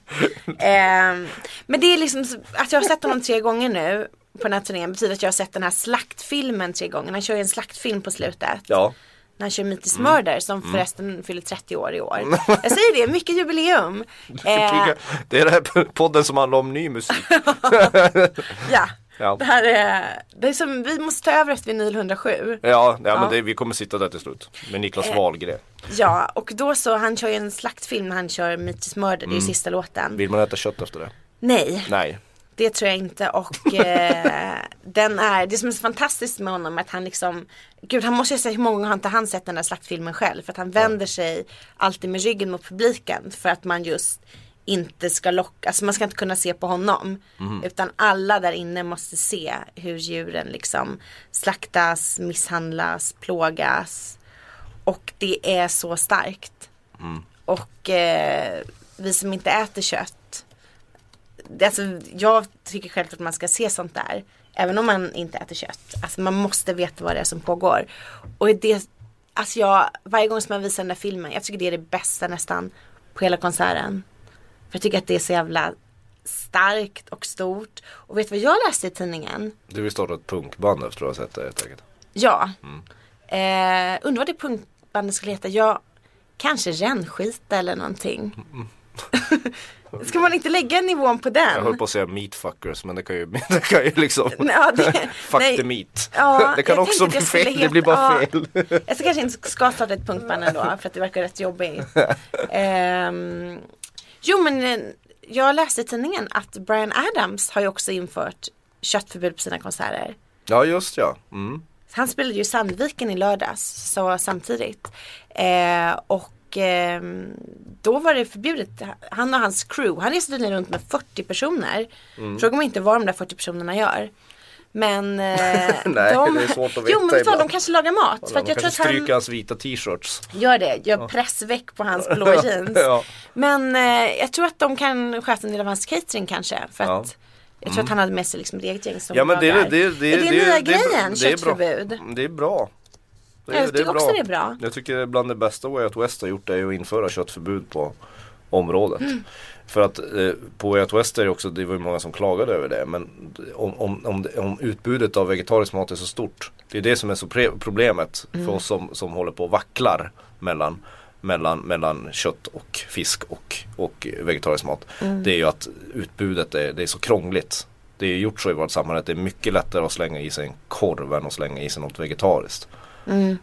Speaker 2: Ehm, men det är liksom så- att jag har sett honom tre gånger nu på den här turnén betyder att jag har sett den här slaktfilmen tre gånger. Han kör ju en slaktfilm på slutet.
Speaker 3: Ja,
Speaker 2: När han kör Mitis
Speaker 3: Mm.
Speaker 2: Murder som förresten fyller 30 år i
Speaker 3: (laughs)
Speaker 2: år. Jag säger det, mycket jubileum. Eh,
Speaker 3: det är den här (laughs) podden som handlar om
Speaker 2: (laughs)
Speaker 3: ny musik.
Speaker 2: ja.
Speaker 3: Ja.
Speaker 2: Det här är, det är som, vi måste ta över efter vinyl 107.
Speaker 3: Ja, ja,
Speaker 2: Ja. Äh.
Speaker 3: men det, vi kommer sitta där till slut. Med Niklas Wahlgren.
Speaker 2: Ja, och då så, han kör ju en slaktfilm när han kör Mitis Murder, det är ju
Speaker 3: Mm.
Speaker 2: sista låten.
Speaker 3: Vill man äta kött efter det?
Speaker 2: Nej.
Speaker 3: Nej.
Speaker 2: Det tror jag inte och eh, den är, det som är så fantastiskt med honom är att han liksom Gud han måste ju säga hur många gånger har inte han sett den där slaktfilmen själv för att han vänder sig alltid med ryggen mot publiken för att man just inte ska locka, alltså man ska inte kunna se på honom utan alla där inne måste se hur djuren liksom slaktas, misshandlas, plågas och det är så starkt och eh, vi som inte äter kött det- Alltså, jag tycker själv att man ska se sånt där. Även om man inte äter kött. Alltså, man måste veta vad det är som pågår. Och det, alltså jag, varje gång som man visar den där filmen, jag tycker det är det bästa nästan på hela konserten. För jag tycker att det är så jävla starkt och stort. Och vet du vad jag läste i tidningen?
Speaker 3: Du vill starta ett punkband efter att ha sett det helt enkelt.
Speaker 2: Ja. Eh, undrar vad det punktbandet skulle heta. Ja, kanske rännskita eller någonting. (laughs) ska man inte lägga nivån på
Speaker 3: Jag
Speaker 2: den?
Speaker 3: höll på att säga meatfuckers men det kan ju, (laughs) det kan ju liksom
Speaker 2: Äh. Nej, (laughs) ja, det-
Speaker 3: Fuck
Speaker 2: nej.
Speaker 3: the meat.
Speaker 2: Ja,
Speaker 3: (laughs) det kan
Speaker 2: jag
Speaker 3: också
Speaker 2: tänkte
Speaker 3: bli
Speaker 2: att jag
Speaker 3: fel,
Speaker 2: skulle
Speaker 3: det blir bara
Speaker 2: heta-
Speaker 3: fel.
Speaker 2: Jag ska kanske inte ska starta ett punkband ändå för att det verkar rätt jobbigt. Ehm, jo men eh, jag läste i tidningen att Brian Adams har ju också infört köttförbud på sina konserter.
Speaker 3: Ja just ja. Mm.
Speaker 2: Han spelade ju Sandviken i lördags så samtidigt. Eh, och ehm, då var det förbjudet. Han och hans crew, han reste tydligen runt med 40 personer.
Speaker 3: Mm.
Speaker 2: Fråga mig inte vad de där 40 personerna gör. Men eh,
Speaker 3: (laughs) Nej,
Speaker 2: de...
Speaker 3: det är svårt att
Speaker 2: Jo
Speaker 3: veta
Speaker 2: men vet du vad, de
Speaker 3: ibland.
Speaker 2: kanske lagar mat. för
Speaker 3: De
Speaker 2: att jag tror
Speaker 3: kanske
Speaker 2: att han...
Speaker 3: stryker hans vita t-shirts.
Speaker 2: Gör det, gör pressväck på
Speaker 3: (laughs)
Speaker 2: hans blå jeans.
Speaker 3: Ja.
Speaker 2: Men eh, jag tror att de kan sköta en del av hans catering kanske. För
Speaker 3: Ja.
Speaker 2: att jag
Speaker 3: Mm.
Speaker 2: tror att han hade med sig liksom ett eget gäng som
Speaker 3: Ja men det,
Speaker 2: lagar.
Speaker 3: det, det, det,
Speaker 2: är det, nya grejen,
Speaker 3: det är bra.
Speaker 2: köttförbud?
Speaker 3: Det är bra. Det,
Speaker 2: Ja, jag tycker också det är bra.
Speaker 3: Jag tycker bland det bästa Way Out West har gjort är att införa köttförbud på området.
Speaker 2: Mm.
Speaker 3: För att eh, på Way Out West är det också, det var ju många som klagade över det, men om, om, om, det- om utbudet av vegetarisk mat är så stort. Det är det som är så pre- problemet
Speaker 2: Mm.
Speaker 3: för oss som, som håller på och vacklar mellan mellan, mellan kött och fisk och, och vegetarisk mat.
Speaker 2: Mm.
Speaker 3: Det är ju att utbudet är, det är så krångligt. Det är gjort så i vårt samhälle att det är mycket lättare att slänga i sig en korv än att slänga i sig något vegetariskt.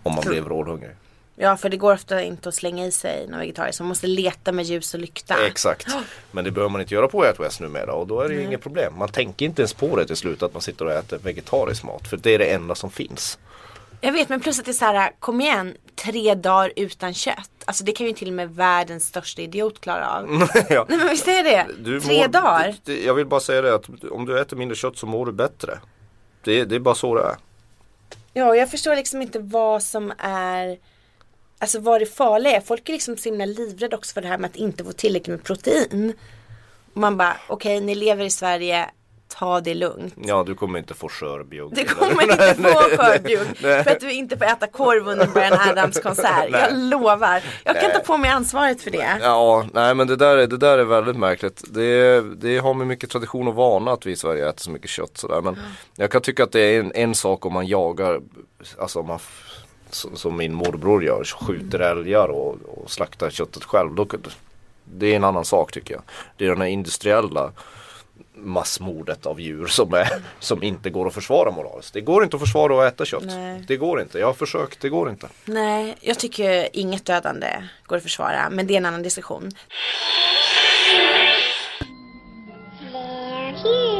Speaker 3: Om man blir vrålhungrig.
Speaker 2: Ja för det går ofta inte att slänga i sig någon vegetariskt. Man måste leta med ljus och lykta.
Speaker 3: Exakt. Men det behöver man inte göra på Way Out West numera och då är det ju inget problem. Man tänker inte ens på det till slut att man sitter och äter vegetarisk mat. För det är det enda som finns. (laughs)
Speaker 2: Jag vet men plus att det är så här, kom igen, tre dagar utan kött. Alltså det kan ju till och med världens största idiot klara
Speaker 3: (laughs)
Speaker 2: av.
Speaker 3: ja.
Speaker 2: Nej men visst är det?
Speaker 3: Du
Speaker 2: tre
Speaker 3: mår-
Speaker 2: dagar.
Speaker 3: d- d- Jag vill bara säga det att om du äter mindre kött så mår du bättre. Det, det är bara så det är.
Speaker 2: Ja, och jag förstår liksom inte vad som är Alltså vad det farliga är. Folk är liksom så himla livrädda också för det här med att inte få tillräckligt med protein. Och man bara, okej ni lever i Sverige, ta det lugnt.
Speaker 3: Ja du kommer inte få skörbjugg.
Speaker 2: Du kommer inte få skörbjugg för att du inte får äta korv under Brian Adams konsert. Jag lovar. Jag kan ta på mig ansvaret för det.
Speaker 3: Ja, nej men det där, är- det där är väldigt märkligt. Det, det har med mycket tradition och vana att vi i Sverige äter så mycket kött sådär. Men jag kan tycka att det är en, en sak om man jagar, alltså om man, f- som, som min morbror gör, skjuter älgar och, och slaktar köttet själv. Då, det är en annan sak tycker jag. Det är den här industriella massmordet av djur som, är, som inte går att försvara moraliskt. Det går inte att försvara att äta kött.
Speaker 2: Nej.
Speaker 3: Det går inte. Jag har försökt, det går inte.
Speaker 2: Nej, jag tycker inget dödande går att försvara, men det är en annan diskussion.
Speaker 4: They're here.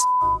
Speaker 5: a-"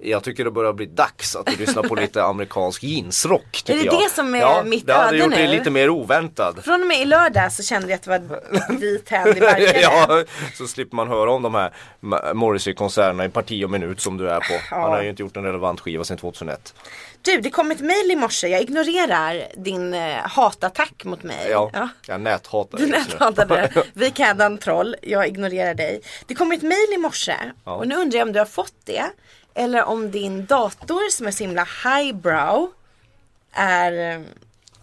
Speaker 3: Jag tycker det börjar bli dags att du lyssnar på lite amerikansk jeansrock. tycker
Speaker 2: det
Speaker 3: jag.
Speaker 2: det som är
Speaker 3: ja,
Speaker 2: mitt
Speaker 3: det hade
Speaker 2: öde
Speaker 3: gjort dig
Speaker 2: nu?
Speaker 3: lite mer oväntad.
Speaker 2: Från och med i lördag så kände jag att det var vit hand i barken.
Speaker 3: (laughs) ja, så slipper man höra om de här Ma- Morrissey-konserterna i parti och minut som du är på. Han har ju inte gjort en relevant skiva sedan 2001.
Speaker 2: Du, det kom ett mail i morse. Jag ignorerar din eh, hatattack mot mig.
Speaker 3: Ja, jag näthatar
Speaker 2: Du
Speaker 3: det just nu.
Speaker 2: näthatade.
Speaker 3: (laughs)
Speaker 2: Vi kallar en troll. Jag ignorerar dig. Det kom ett mail i morse. Och nu undrar jag om du har fått det. Eller om din dator som är så himla highbrow är, eh,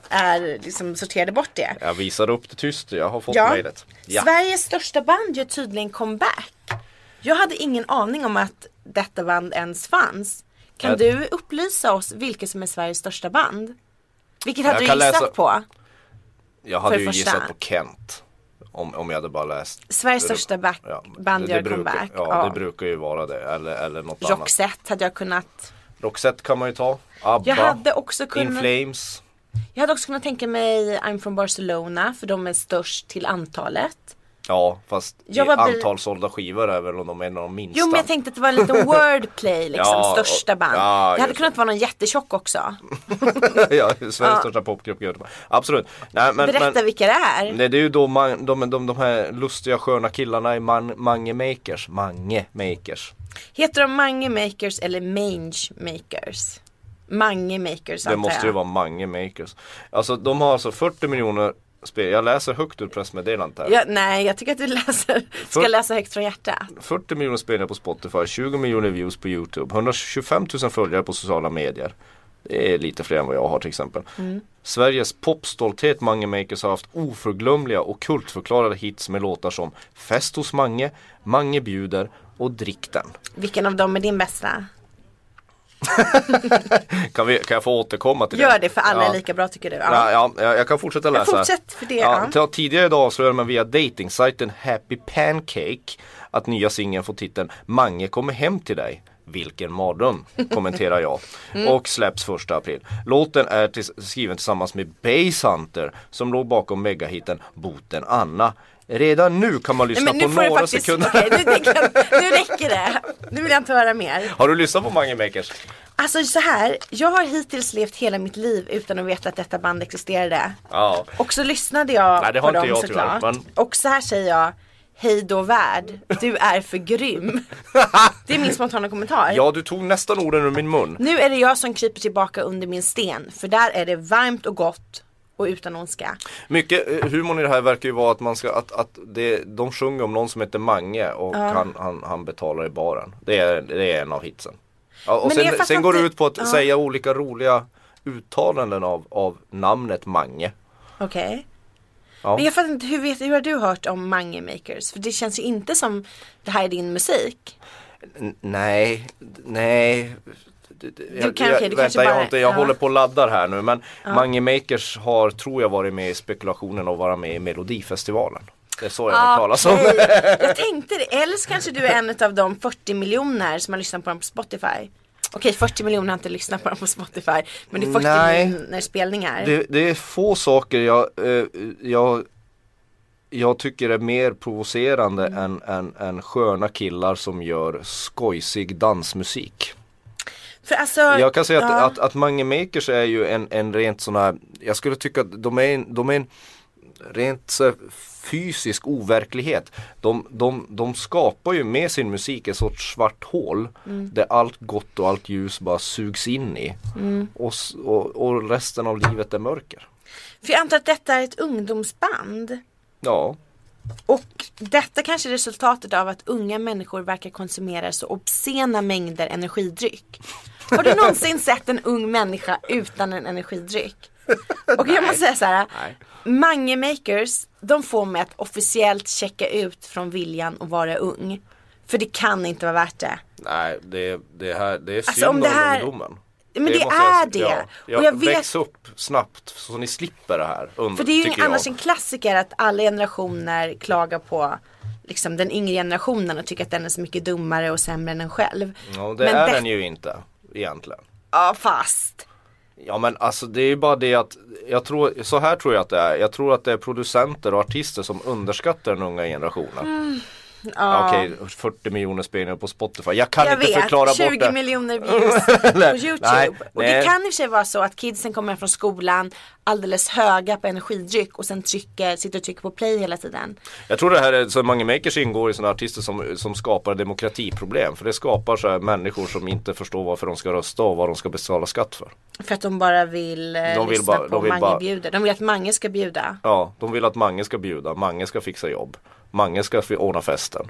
Speaker 2: är liksom sorterade bort det.
Speaker 3: Jag visar upp det tyst, jag har fått
Speaker 2: Ja.
Speaker 3: mejlet. Ja.
Speaker 2: Sveriges största band gör tydligen comeback. Jag hade ingen aning om att detta band ens fanns. Kan
Speaker 3: Jag-
Speaker 2: du upplysa oss vilket som är Sveriges största band? Vilket hade
Speaker 3: Jag
Speaker 2: du
Speaker 3: kan
Speaker 2: gissat
Speaker 3: läsa-
Speaker 2: på?
Speaker 3: Jag hade
Speaker 2: för
Speaker 3: ju
Speaker 2: första.
Speaker 3: gissat på Kent. Om, om jag hade bara läst.
Speaker 2: Sveriges
Speaker 3: det-
Speaker 2: största back- band gör
Speaker 3: brukar,
Speaker 2: comeback.
Speaker 3: Ja,
Speaker 2: Ja.
Speaker 3: det brukar ju vara det. Eller, eller något annat.
Speaker 2: Roxette hade jag kunnat.
Speaker 3: Roxette kan man ju ta. ABBA.
Speaker 2: Jag hade också
Speaker 3: In
Speaker 2: kunnat.
Speaker 3: Flames.
Speaker 2: Jag hade också kunnat tänka mig I'm from Barcelona för de är störst till antalet.
Speaker 3: Ja, fast
Speaker 2: Jag
Speaker 3: i
Speaker 2: var bli-
Speaker 3: antal sålda skivor är väl om de är en av de minsta.
Speaker 2: Jo men jag tänkte att det var en liten wordplay liksom,
Speaker 3: Ja,
Speaker 2: största
Speaker 3: och-
Speaker 2: band.
Speaker 3: ja,
Speaker 2: det hade
Speaker 3: just
Speaker 2: kunnat vara någon jättetjock också.
Speaker 3: (laughs) ja, Sveriges största popgrupp i Göteborg. Absolut. Nej, men,
Speaker 2: Berätta
Speaker 3: men...
Speaker 2: vilka det är.
Speaker 3: Nej det är ju då man, de, de, de här lustiga sköna killarna i man, Mange Makers. Mange Makers.
Speaker 2: Heter de Mange Makers eller Mange Makers? Mange Makers
Speaker 3: Det måste ju vara Mange Makers. Alltså de har alltså 40 miljoner spel. Jag läser högt ur pressmeddelandet här.
Speaker 2: Ja, nej, jag tycker att du läser, ska
Speaker 3: För-
Speaker 2: läsa högt från hjärtat.
Speaker 3: 40 miljoner spelningar på Spotify, 20 miljoner views på YouTube, 125 000 följare på sociala medier. Det är lite fler än vad jag har till exempel.
Speaker 2: Mm.
Speaker 3: Sveriges popstolthet Mange Makers har haft oförglömliga och kultförklarade hits med låtar som Fest hos Mange, Mange bjuder och Drick den.
Speaker 2: Vilken av dem är din bästa?
Speaker 3: Kan, vi, kan jag få återkomma till det?
Speaker 2: Gör det för alla
Speaker 3: Ja.
Speaker 2: är lika bra tycker du. Ja.
Speaker 3: Ja. Ja, jag, jag kan fortsätta läsa.
Speaker 2: fortsätt för det,
Speaker 3: Ja,
Speaker 2: ja.
Speaker 3: t- tidigare idag avslöjade man via datingsajten Happy Pancake att nya singeln får titeln Mange kommer hem till dig.
Speaker 2: (laughs)
Speaker 3: Vilken mardröm, kommenterar jag.
Speaker 2: Mm.
Speaker 3: Och släpps första april. Låten är tills, skriven tillsammans med Base Hunter som låg bakom megahiten Boten Anna. Redan nu kan man
Speaker 2: Nej,
Speaker 3: lyssna
Speaker 2: men nu
Speaker 3: på
Speaker 2: får du
Speaker 3: några
Speaker 2: faktiskt,
Speaker 3: sekunder. (laughs)
Speaker 2: okej, nu, tänker jag- nu räcker det. Nu vill jag inte höra mer.
Speaker 3: Har du lyssnat på Mange Makers?
Speaker 2: Alltså så här, jag har hittills levt hela mitt liv utan att veta att detta band existerade.
Speaker 3: Ja.
Speaker 2: Och så lyssnade jag
Speaker 3: Nej, det
Speaker 2: på
Speaker 3: har
Speaker 2: dem
Speaker 3: inte jag, tyvärr,
Speaker 2: såklart.
Speaker 3: men-
Speaker 2: Och så här säger jag, hej då värld, du är för
Speaker 3: (laughs)
Speaker 2: grym. det är min spontana kommentar.
Speaker 3: Ja, du tog nästan orden ur min mun.
Speaker 2: Nu är det jag som kryper tillbaka under min sten, för där är det varmt och gott och utan ondska.
Speaker 3: Mycket eh, humorn i det här verkar ju vara att man ska, att, att det, de sjunger om någon som heter Mange och han, han, han betalar i baren. Det är, det är en av hitsen. Ja, och
Speaker 2: Men jag
Speaker 3: sen,
Speaker 2: fattar
Speaker 3: sen går det
Speaker 2: inte-
Speaker 3: ut på att
Speaker 2: ja.
Speaker 3: säga olika roliga uttalanden av, av namnet Mange.
Speaker 2: Okej?
Speaker 3: Ja.
Speaker 2: Men jag fattar inte, hur, vet, hur har du hört om Mange Makers? För det känns ju inte som det här är din musik.
Speaker 3: N- nej, d- nej. Du,
Speaker 2: kan- okej, du kanske
Speaker 3: vänta, jag,
Speaker 2: bara-
Speaker 3: har inte, jag
Speaker 2: ja.
Speaker 3: håller på och laddar här nu men Mange Makers har, tror jag, varit med i spekulationen att vara med i Melodifestivalen. Det är så jag har hört talas om.
Speaker 2: Ah, Okej, Jag tänkte det, eller så kanske du är en av de 40 miljoner som har lyssnat på dem på Spotify. Okej, 40 miljoner har inte lyssnat på dem på Spotify, men det är 40
Speaker 3: Nej.
Speaker 2: miljoner spelningar.
Speaker 3: Det, det är få saker jag, eh, jag, jag tycker är mer provocerande
Speaker 2: Mm.
Speaker 3: än, än, än sköna killar som gör skojsig dansmusik.
Speaker 2: För alltså,
Speaker 3: Jag kan säga att,
Speaker 2: ja.
Speaker 3: att, att Mange Makers är ju en, en rent sån här, jag skulle tycka att de är en, de är en rent så här fysisk overklighet. De, de, de skapar ju med sin musik ett sorts svart hål
Speaker 2: Mm.
Speaker 3: där allt gott och allt ljus bara sugs in i.
Speaker 2: Mm.
Speaker 3: Och, s- och, och resten av livet är mörker.
Speaker 2: För jag antar att detta är ett ungdomsband.
Speaker 3: Ja,
Speaker 2: Och detta kanske är resultatet av att unga människor verkar konsumera så obscena mängder energidryck. Har
Speaker 3: (laughs)
Speaker 2: du någonsin sett en ung människa utan en
Speaker 3: (laughs)
Speaker 2: energidryck? Och jag måste säga så här. Mange makers, de får mig att officiellt checka ut från viljan att vara ung. För det kan inte vara värt det.
Speaker 3: nej det, det, här, det är synd
Speaker 2: Alltså, om det här-
Speaker 3: om ungdomen.
Speaker 2: Men det
Speaker 3: måste jag
Speaker 2: är
Speaker 3: säga.
Speaker 2: det. Och
Speaker 3: Ja, och
Speaker 2: jag vet-
Speaker 3: Väx upp snabbt så ni slipper det här. Under,
Speaker 2: För det är ju
Speaker 3: tycker
Speaker 2: en,
Speaker 3: jag.
Speaker 2: annars en klassiker att alla generationer klagar på liksom, den yngre generationen och tycker att den är så mycket dummare och sämre än en själv.
Speaker 3: Ja, det
Speaker 2: Men
Speaker 3: är
Speaker 2: det-
Speaker 3: den ju inte egentligen.
Speaker 2: Ja fast.
Speaker 3: Ja men alltså det är ju bara det att jag tror, så här tror jag att det är. Jag tror att det är producenter och artister som underskattar den unga generationen.
Speaker 2: Mm.
Speaker 3: ja. Okej, 40 miljoner spelningar på Spotify. Jag kan
Speaker 2: Jag
Speaker 3: inte
Speaker 2: vet,
Speaker 3: förklara
Speaker 2: 20
Speaker 3: bort det. (laughs)
Speaker 2: miljoner views på YouTube.
Speaker 3: nej,
Speaker 2: och det
Speaker 3: nej.
Speaker 2: kan i och för sig vara så att kidsen kommer från skolan alldeles höga på energidryck och sen trycker, sitter och trycker på play hela tiden.
Speaker 3: Jag tror det här är, så Mange Makers ingår i sådana artister som, som skapar demokratiproblem. För det skapar så här människor som inte förstår varför de ska rösta och vad de ska betala skatt för.
Speaker 2: För att de bara vill, eh,
Speaker 3: De vill
Speaker 2: lyssna
Speaker 3: bara-
Speaker 2: på
Speaker 3: de vill
Speaker 2: Mange
Speaker 3: bara-
Speaker 2: bjuder. De vill att Mange ska bjuda.
Speaker 3: Ja, de vill att Mange ska bjuda, Mange ska fixa jobb, Mange ska fi- ordna festen.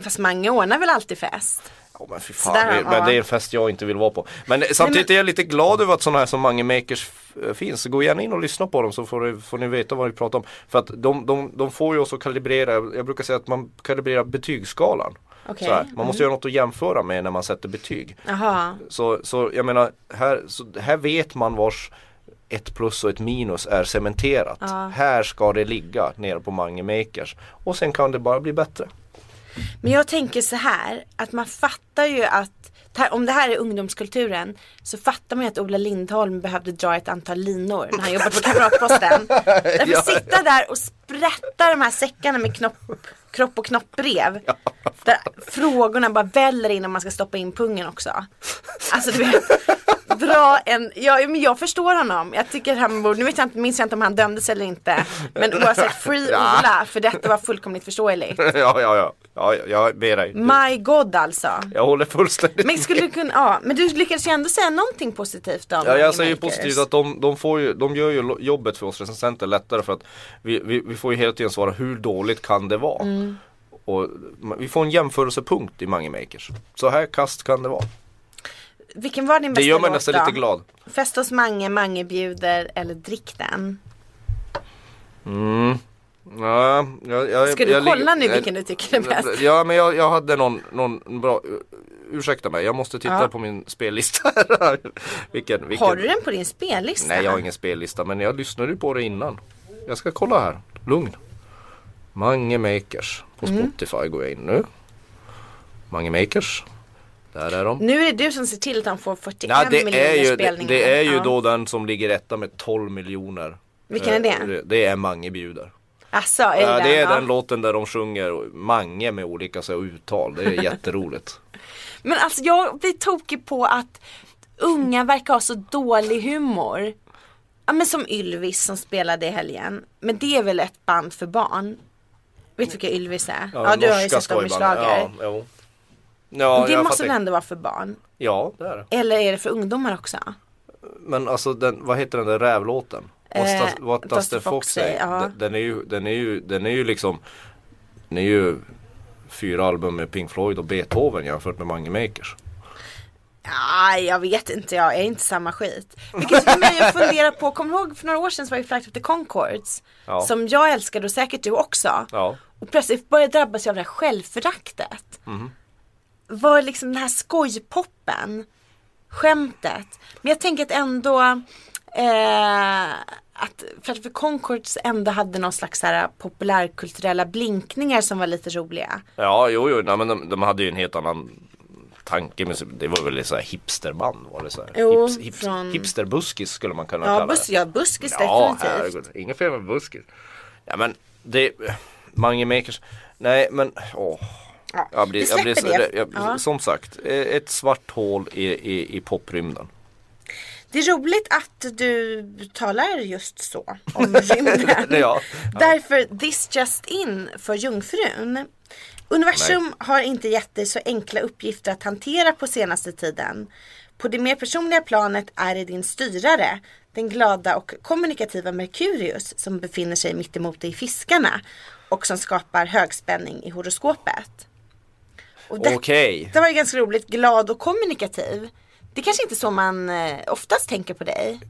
Speaker 2: Fast Mange ordnar väl alltid fest?
Speaker 3: Ja, men fy fan,
Speaker 2: Sådär,
Speaker 3: det, men
Speaker 2: ja.
Speaker 3: det är en fest jag inte vill vara på. Men eh, samtidigt är jag lite glad över att sådana här som Mange Makers eh, finns. Så Gå gärna in och lyssna på dem så får, du- får ni veta vad vi pratar om. För att de, de, de får ju oss att kalibrera, jag brukar säga att man kalibrerar betygsskalan.
Speaker 2: Okej, Mm.
Speaker 3: Så här, Man måste göra något att jämföra med när man sätter betyg.
Speaker 2: Jaha.
Speaker 3: Så, så jag menar, här, så, här vet man vars ett plus och ett minus är cementerat. Här ska det ligga nere på Mange Makers. Och sen kan det bara bli bättre. (laughs)
Speaker 2: Men jag tänker så här, att man fattar ju att ta- om det här är ungdomskulturen så fattar man ju att Ola Lindholm behövde dra ett antal linor när han jobbade på Kamratposten. Därför sitta där och sprätta de här säckarna med knopp, kropp och knoppbrev. Där frågorna bara väller in om man ska stoppa in pungen också. Alltså du vet, dra en, ja men jag förstår honom. Jag tycker han borde, nu vet jag inte, minns jag inte om han dömdes eller inte. Men oavsett, free Ola, för detta var fullkomligt förståeligt.
Speaker 3: ja, ja, ja. ja, ja, jag ber dig.
Speaker 2: My god alltså.
Speaker 3: Jag håller fullständigt
Speaker 2: Men skulle du kunna, ja, men du lyckades ju ändå säga någonting positivt om
Speaker 3: Ja,
Speaker 2: Money
Speaker 3: jag säger ju
Speaker 2: Makers.
Speaker 3: positivt att de, de, får ju, de gör ju lo- jobbet för oss recensenter lättare för att vi, vi, vi får ju hela tiden svara hur dåligt kan det vara?
Speaker 2: Mm.
Speaker 3: Och ma- vi får en jämförelsepunkt i Mange Makers. Så här kast kan det vara.
Speaker 2: Vilken var din bästa
Speaker 3: Det gör mig
Speaker 2: låt
Speaker 3: nästan
Speaker 2: då?
Speaker 3: lite glad.
Speaker 2: Fest hos Mange, Mange bjuder eller Drick den.
Speaker 3: Ja, jag, jag,
Speaker 2: Ska du
Speaker 3: jag
Speaker 2: kolla
Speaker 3: ligger-
Speaker 2: nu vilken du tycker är bäst?
Speaker 3: Ja men jag, jag hade någon, någon bra Ursäkta mig, jag måste titta
Speaker 2: Ja.
Speaker 3: på min spellista (laughs) här. vilken, vilken...
Speaker 2: Har du den på din spellista?
Speaker 3: Nej jag har ingen spellista men jag lyssnade ju på det innan. Jag ska kolla här, lugn. Mange Makers på
Speaker 2: Mm.
Speaker 3: Spotify går jag in nu. Mange Makers. Där är de.
Speaker 2: Nu är det du som ser till att de får 41
Speaker 3: Nej, det,
Speaker 2: miljoner
Speaker 3: är ju, det,
Speaker 2: spelningar.
Speaker 3: det är ju
Speaker 2: Ja.
Speaker 3: då den som ligger etta med 12 miljoner.
Speaker 2: Vilken är det?
Speaker 3: Eh, Det, det är Mange bjuder.
Speaker 2: Asså, är det,
Speaker 3: Ja,
Speaker 2: den,
Speaker 3: det är
Speaker 2: ja.
Speaker 3: den låten där de sjunger Mange med olika så här, uttal. Det
Speaker 2: (laughs)
Speaker 3: är jätteroligt.
Speaker 2: Men alltså jag blir tokig på att unga verkar ha så dålig humor. Ja men som Ylvis som spelade i helgen. Men det är väl ett band för barn? Vet du vilka Ylvis är? Ja, du har ju
Speaker 3: norska
Speaker 2: sett dem i
Speaker 3: skojband.
Speaker 2: schlager.
Speaker 3: Ja, jo. ja
Speaker 2: det
Speaker 3: jag
Speaker 2: måste
Speaker 3: fattar.
Speaker 2: väl ändå vara för barn?
Speaker 3: Ja, det är det.
Speaker 2: Eller är det för ungdomar också?
Speaker 3: Men alltså den, vad heter den där rävlåten?
Speaker 2: Eh,
Speaker 3: What does- What does the fox say?
Speaker 2: ja.
Speaker 3: Den- Den är ju, den är ju, den är ju liksom Den är ju fyra album med Pink Floyd och Beethoven jämfört med Mange Makers.
Speaker 2: Ja, jag vet inte, jag är inte samma skit. Vilket
Speaker 3: (laughs)
Speaker 2: fick mig att fundera på, kommer du ihåg för några år sedan så var ju Flight of the Conchords?
Speaker 3: Ja.
Speaker 2: Som jag älskade och säkert du också.
Speaker 3: Ja.
Speaker 2: Och plötsligt började jag drabbas av det här självföraktet. Var liksom den här skojpoppen, skämtet. Men jag tänker att ändå eh, att Flight of the Conchords ändå hade någon slags så här populärkulturella blinkningar som var lite roliga.
Speaker 3: Ja, jo, jo, nej, men de, de hade ju en helt annan tanke med sig. Det var väl ett så här hipsterband var det så här.
Speaker 2: Jo,
Speaker 3: Hips, hips,
Speaker 2: från-
Speaker 3: Hipsterbuskis skulle man kunna
Speaker 2: Ja,
Speaker 3: kalla
Speaker 2: bus,
Speaker 3: det.
Speaker 2: ja buskis
Speaker 3: Ja,
Speaker 2: definitivt.
Speaker 3: herregud. Inget fel med buskis. Ja, men det... Mange Makers. Nej, men åh.
Speaker 2: Ja,
Speaker 3: Jag blir,
Speaker 2: vi
Speaker 3: jag
Speaker 2: släpper
Speaker 3: blir så,
Speaker 2: det.
Speaker 3: jag,
Speaker 2: ja.
Speaker 3: Som sagt, eh, ett svart hål i, i, i poprymden.
Speaker 2: Det är roligt att du talar just så om rymden.
Speaker 3: Ja.
Speaker 2: Därför this just in för jungfrun. Universum har inte gett dig så enkla uppgifter att hantera på senaste tiden. På det mer personliga planet är det din styrare, den glada och kommunikativa Merkurius som befinner sig mitt emot dig i fiskarna och som skapar högspänning i horoskopet. Och det-
Speaker 3: Okej.
Speaker 2: Det var ju ganska roligt, glad och kommunikativ. Det kanske inte är så man eh, oftast tänker på dig.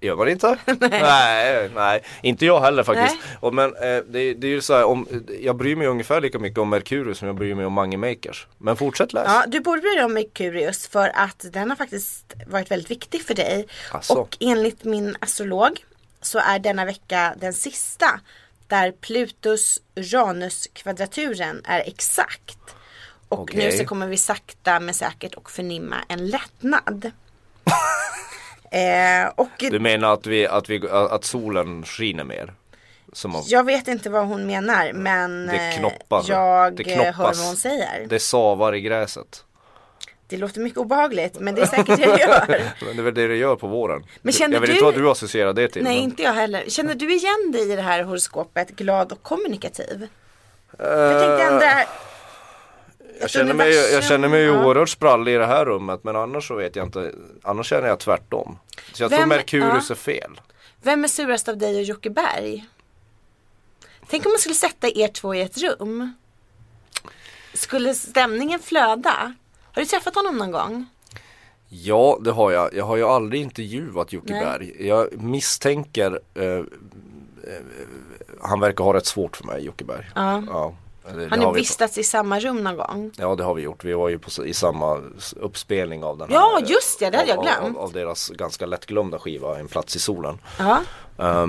Speaker 3: Gör
Speaker 2: (laughs)
Speaker 3: man inte? nej, nej, inte jag heller faktiskt.
Speaker 2: Nej.
Speaker 3: Och men eh, det, det är ju så här, om, jag bryr mig ungefär lika mycket om Merkurius som jag bryr mig om Mange Makers. Men fortsätt läs.
Speaker 2: Ja, du borde bry dig om Merkurius för att den har faktiskt varit väldigt viktig för dig.
Speaker 3: Asså.
Speaker 2: Och enligt min astrolog så är denna vecka den sista där Plutus Uranus kvadraturen är exakt. Och nu
Speaker 3: Okej.
Speaker 2: så kommer vi sakta men säkert och förnimma en
Speaker 3: (laughs)
Speaker 2: lättnad. eh, och
Speaker 3: Du menar att, vi, att, vi, att solen skiner mer? Som av,
Speaker 2: jag vet inte vad hon menar men
Speaker 3: Det
Speaker 2: eh,
Speaker 3: knoppar.
Speaker 2: jag
Speaker 3: Det
Speaker 2: eh, hör vad
Speaker 3: knoppas.
Speaker 2: hon säger.
Speaker 3: Det savar i gräset.
Speaker 2: Det låter mycket obehagligt men det är säkert det jag gör.
Speaker 3: Men (laughs) det är väl det det gör på våren.
Speaker 2: Men känner
Speaker 3: jag vet
Speaker 2: du-
Speaker 3: inte vad du associerar det till.
Speaker 2: Nej
Speaker 3: men-
Speaker 2: inte jag heller. Känner du igen dig i det här horoskopet glad och kommunikativ? För jag tänkte ändå här,
Speaker 3: Eh, Jag känner mig, ju- jag känner mig ju
Speaker 2: Ja.
Speaker 3: oerhört sprallig i det här rummet men annars så vet jag inte. Annars känner jag tvärtom. Så jag tror
Speaker 2: Vem-
Speaker 3: Merkurius
Speaker 2: ja.
Speaker 3: är fel.
Speaker 2: vem är surast av dig och Jocke Berg? Tänk om man skulle sätta er två i ett rum. Skulle stämningen flöda? Har du träffat honom någon gång?
Speaker 3: Ja det har jag. Jag har ju aldrig intervjuat Jocke
Speaker 2: Nej.
Speaker 3: Berg. Jag misstänker eh, eh, Han verkar ha rätt svårt för mig Jocke Berg.
Speaker 2: Ja.
Speaker 3: Det- det
Speaker 2: Har
Speaker 3: har
Speaker 2: ni
Speaker 3: vi-
Speaker 2: vistats i samma rum någon gång?
Speaker 3: Ja det har vi gjort. Vi var ju på, s- i samma s- uppspelning av den
Speaker 2: Ja,
Speaker 3: här. eh,
Speaker 2: just det, det hade
Speaker 3: av-
Speaker 2: jag glömt.
Speaker 3: Av, av deras ganska lättglömda skiva En plats i solen.
Speaker 2: Ja.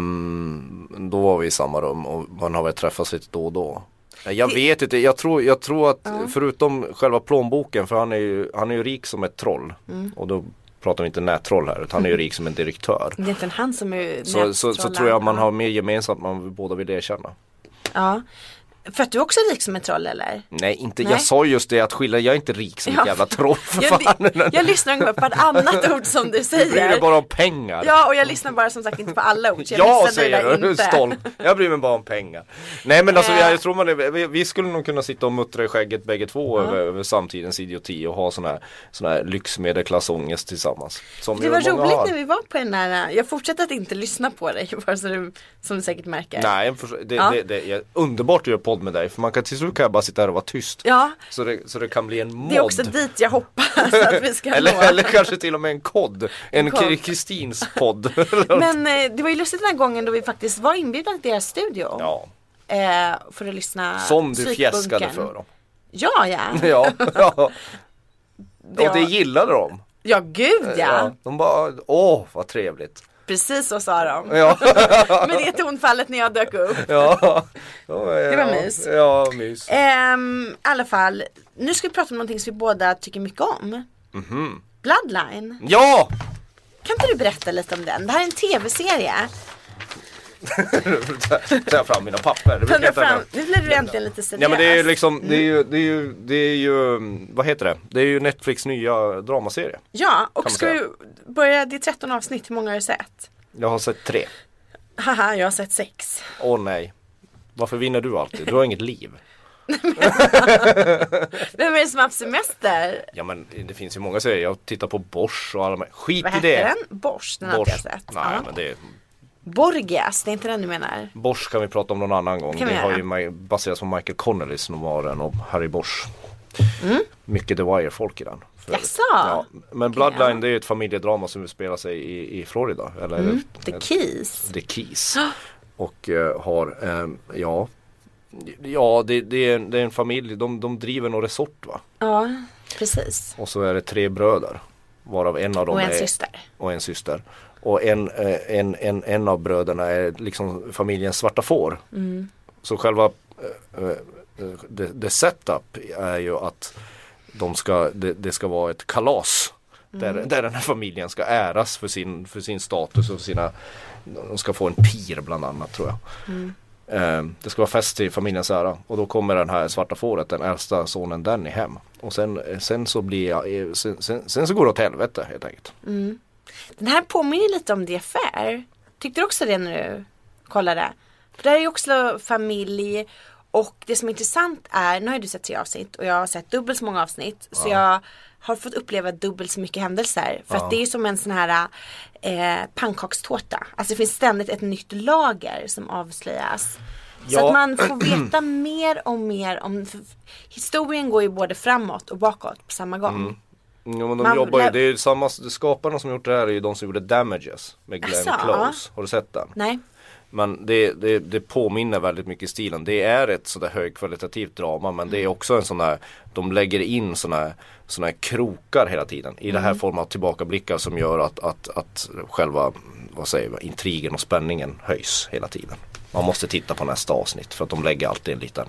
Speaker 3: Ehm, då var vi i samma rum och man har väl träffats lite då och då. Jag vet inte, jag tror, jag tror att förutom själva plånboken för han är ju, han är ju rik som ett troll.
Speaker 2: Mm.
Speaker 3: Och då pratar vi inte nättroll här utan han är ju rik som en direktör.
Speaker 2: Det är inte han som är
Speaker 3: Så, så, så
Speaker 2: nättrollen.
Speaker 3: tror jag man har mer gemensamt än man båda vill erkänna.
Speaker 2: Ja. För att du också är rik som ett troll eller?
Speaker 3: Nej, inte,
Speaker 2: Nej.
Speaker 3: jag sa just det att skilja, jag är inte rik som ett
Speaker 2: Ja.
Speaker 3: jävla troll för
Speaker 2: Jag,
Speaker 3: fan.
Speaker 2: jag lyssnar ungefär på ett
Speaker 3: (laughs)
Speaker 2: annat ord som du
Speaker 3: Jag bryr
Speaker 2: säger.
Speaker 3: mig bara om pengar.
Speaker 2: Ja och jag lyssnar bara som sagt inte på alla ord. så jag
Speaker 3: Ja
Speaker 2: missade det
Speaker 3: säger
Speaker 2: där
Speaker 3: du,
Speaker 2: inte. (laughs)
Speaker 3: stolt. Jag bryr mig bara om pengar. Nej men alltså
Speaker 2: Eh.
Speaker 3: jag tror man är, vi- vi skulle nog kunna sitta och muttra i skägget bägge två över, över samtidens idioti och ha sån här, sån här lyxmedelklassångest tillsammans. Som
Speaker 2: Det
Speaker 3: ju
Speaker 2: var
Speaker 3: många
Speaker 2: roligt
Speaker 3: har.
Speaker 2: när vi var på den där, jag fortsätter att inte lyssna på dig (laughs) bara så du, som du säkert märker.
Speaker 3: Nej, för, det,
Speaker 2: Ja.
Speaker 3: det, det är underbart att göra podd med dig för man kan till slut kan jag bara sitta här och vara tyst.
Speaker 2: Ja,
Speaker 3: Så, det, så det kan bli en mod.
Speaker 2: det är också dit jag hoppas att vi
Speaker 3: (laughs)
Speaker 2: ska nå.
Speaker 3: eller, eller kanske till och med en kod. En
Speaker 2: kod.
Speaker 3: Kri- Kristins
Speaker 2: (laughs)
Speaker 3: podd.
Speaker 2: Men eh, det var ju lustigt den här gången då vi faktiskt var inbjudna till deras studio.
Speaker 3: ja,
Speaker 2: Eh, för att lyssna
Speaker 3: som du
Speaker 2: Psykbunkern.
Speaker 3: fjäskade för dem. (laughs)
Speaker 2: Ja, (laughs) ja.
Speaker 3: Ja, ja.
Speaker 2: Det
Speaker 3: Och det
Speaker 2: var-
Speaker 3: gillade de.
Speaker 2: Ja, gud ja.
Speaker 3: Ja, de bara, åh vad trevligt.
Speaker 2: Precis så sa de. (laughs)
Speaker 3: Ja,
Speaker 2: Med det tonfallet när jag dök upp.
Speaker 3: (laughs) ja. Det
Speaker 2: var mys.
Speaker 3: Ja, mys.
Speaker 2: Ehm, I alla fall, nu ska vi prata om någonting som vi båda tycker mycket om.
Speaker 3: Mhm.
Speaker 2: Bloodline.
Speaker 3: Ja!
Speaker 2: Kan inte du berätta lite om den? Det här är en tv-serie.
Speaker 3: Tar jag fram mina papper. Det brukar
Speaker 2: Plundra
Speaker 3: jag ta
Speaker 2: fram-
Speaker 3: med.
Speaker 2: Nu blir du äntligen lite seriös.
Speaker 3: Ja men det är ju liksom, det är ju, det är ju, det är ju, vad heter det? Det är ju Netflix nya dramaserie.
Speaker 2: Ja,
Speaker 3: kan
Speaker 2: och
Speaker 3: man
Speaker 2: ska
Speaker 3: säga.
Speaker 2: du börja, det är 13 avsnitt, hur många har du sett?
Speaker 3: Jag har sett tre.
Speaker 2: Haha, jag har sett sex.
Speaker 3: Åh nej. Varför vinner du alltid? Du har inget liv.
Speaker 2: Vem är det som har haft semester?
Speaker 3: Ja men det finns ju många serier, jag tittar på Bosch och alla de här. Skit
Speaker 2: Vad
Speaker 3: i
Speaker 2: hette
Speaker 3: det.
Speaker 2: den? Bors, den har inte jag
Speaker 3: Bosch.
Speaker 2: sett.
Speaker 3: Nej
Speaker 2: Ja.
Speaker 3: men det,
Speaker 2: Borgias, det är inte den du menar?
Speaker 3: Bosch kan vi prata om någon annan gång.
Speaker 2: Kan vi
Speaker 3: det har
Speaker 2: göra.
Speaker 3: ju ma- baserats på Michael Connollys novaren om Harry Bosch.
Speaker 2: Mm.
Speaker 3: Mycket The Wire-folk i den. för övrigt.
Speaker 2: Jaså?
Speaker 3: Men Bloodline det är ju ett familjedrama som utspelar sig i, i Florida. Eller
Speaker 2: Mm, The Keys?
Speaker 3: The Keys. Och eh, har, ehm, ja, ja det, det, är, en- det är en familj, de, de driver någon resort va.
Speaker 2: Ja, precis.
Speaker 3: Och så är det tre bröder. Varav en av dem
Speaker 2: Och en
Speaker 3: är,
Speaker 2: syster.
Speaker 3: och en syster. Och en, eh, en, en, en av bröderna är liksom familjens svarta får. Så själva eh, eh, det, det setup är ju att de ska, det, det ska vara ett kalas. Där, där den här familjen ska äras för sin, för sin status och sina De ska få en pir bland annat tror jag. Eh, det ska vara fest till familjens ära och då kommer den här svarta fåret, den äldsta sonen Danny hem. Och sen, sen så blir jag, eh, sen, sen, sen så går det åt helvete helt enkelt.
Speaker 2: Den här påminner lite om The Affair. Tyckte du också det när du kollade? För där är ju också familj och det som är intressant är, nu har ju du sett tre avsnitt och jag har sett dubbelt så många avsnitt. Så jag har fått uppleva dubbelt så mycket händelser. För att det är ju som en sån här eh, pannkakstårta. Alltså det finns ständigt ett nytt lager som avslöjas. Så
Speaker 3: Ja.
Speaker 2: att man får veta mer och mer om, för historien går ju både framåt och bakåt på samma gång.
Speaker 3: Mm. Ja, men de
Speaker 2: Man
Speaker 3: jobbar ju,
Speaker 2: lär-
Speaker 3: det är ju samma, skaparna som gjort det här är ju de som gjorde Damages med Glenn
Speaker 2: Asså,
Speaker 3: Close. Har du sett den?
Speaker 2: Nej.
Speaker 3: Men det, det, det påminner väldigt mycket i stilen. Det är ett sådär högkvalitativt drama men
Speaker 2: Mm.
Speaker 3: det är också en sån här De lägger in såna här, såna här krokar hela tiden i det här
Speaker 2: Mm.
Speaker 3: formen av tillbakablickar som gör att, att, att själva vad säger man, intrigen och spänningen höjs hela tiden. Man måste titta på nästa avsnitt för att de lägger alltid en liten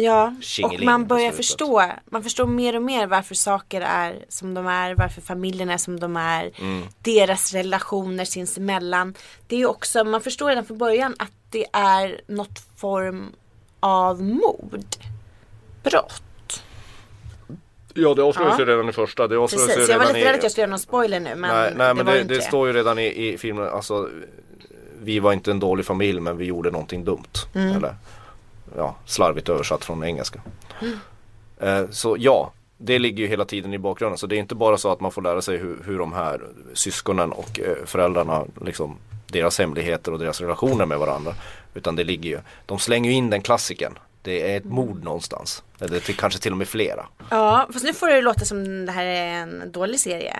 Speaker 2: Ja, och
Speaker 3: Tjingeling på
Speaker 2: man börjar
Speaker 3: slutet.
Speaker 2: förstå. Man förstår mer och mer varför saker är som de är, varför familjerna är som de är.
Speaker 3: Mm.
Speaker 2: Deras relationer sinsemellan. Det är ju också, man förstår redan från början att det är något form av mord. Brott.
Speaker 3: Ja det avslöjas
Speaker 2: Ja.
Speaker 3: ju redan i första. Det avslöjas
Speaker 2: Precis,
Speaker 3: ju
Speaker 2: jag var
Speaker 3: redan
Speaker 2: lite rädd
Speaker 3: i-
Speaker 2: att jag skulle göra någon spoiler nu men,
Speaker 3: nej, nej men
Speaker 2: var
Speaker 3: det,
Speaker 2: ju inte
Speaker 3: det står ju redan i, i filmen, alltså Vi var inte en dålig familj men vi gjorde någonting dumt.
Speaker 2: Mm.
Speaker 3: Eller, ja, slarvigt översatt från engelska.
Speaker 2: Mm.
Speaker 3: Eh, så ja, det ligger ju hela tiden i bakgrunden. Så det är inte bara så att man får lära sig hur, hur de här syskonen och eh, föräldrarna, liksom deras hemligheter och deras relationer med varandra. Utan det ligger ju, de slänger ju in den klassiken. Det
Speaker 2: Mm.
Speaker 3: är ett mord någonstans. Eller till, kanske till och med flera.
Speaker 2: Ja, fast nu får det låta som det här är en dålig serie.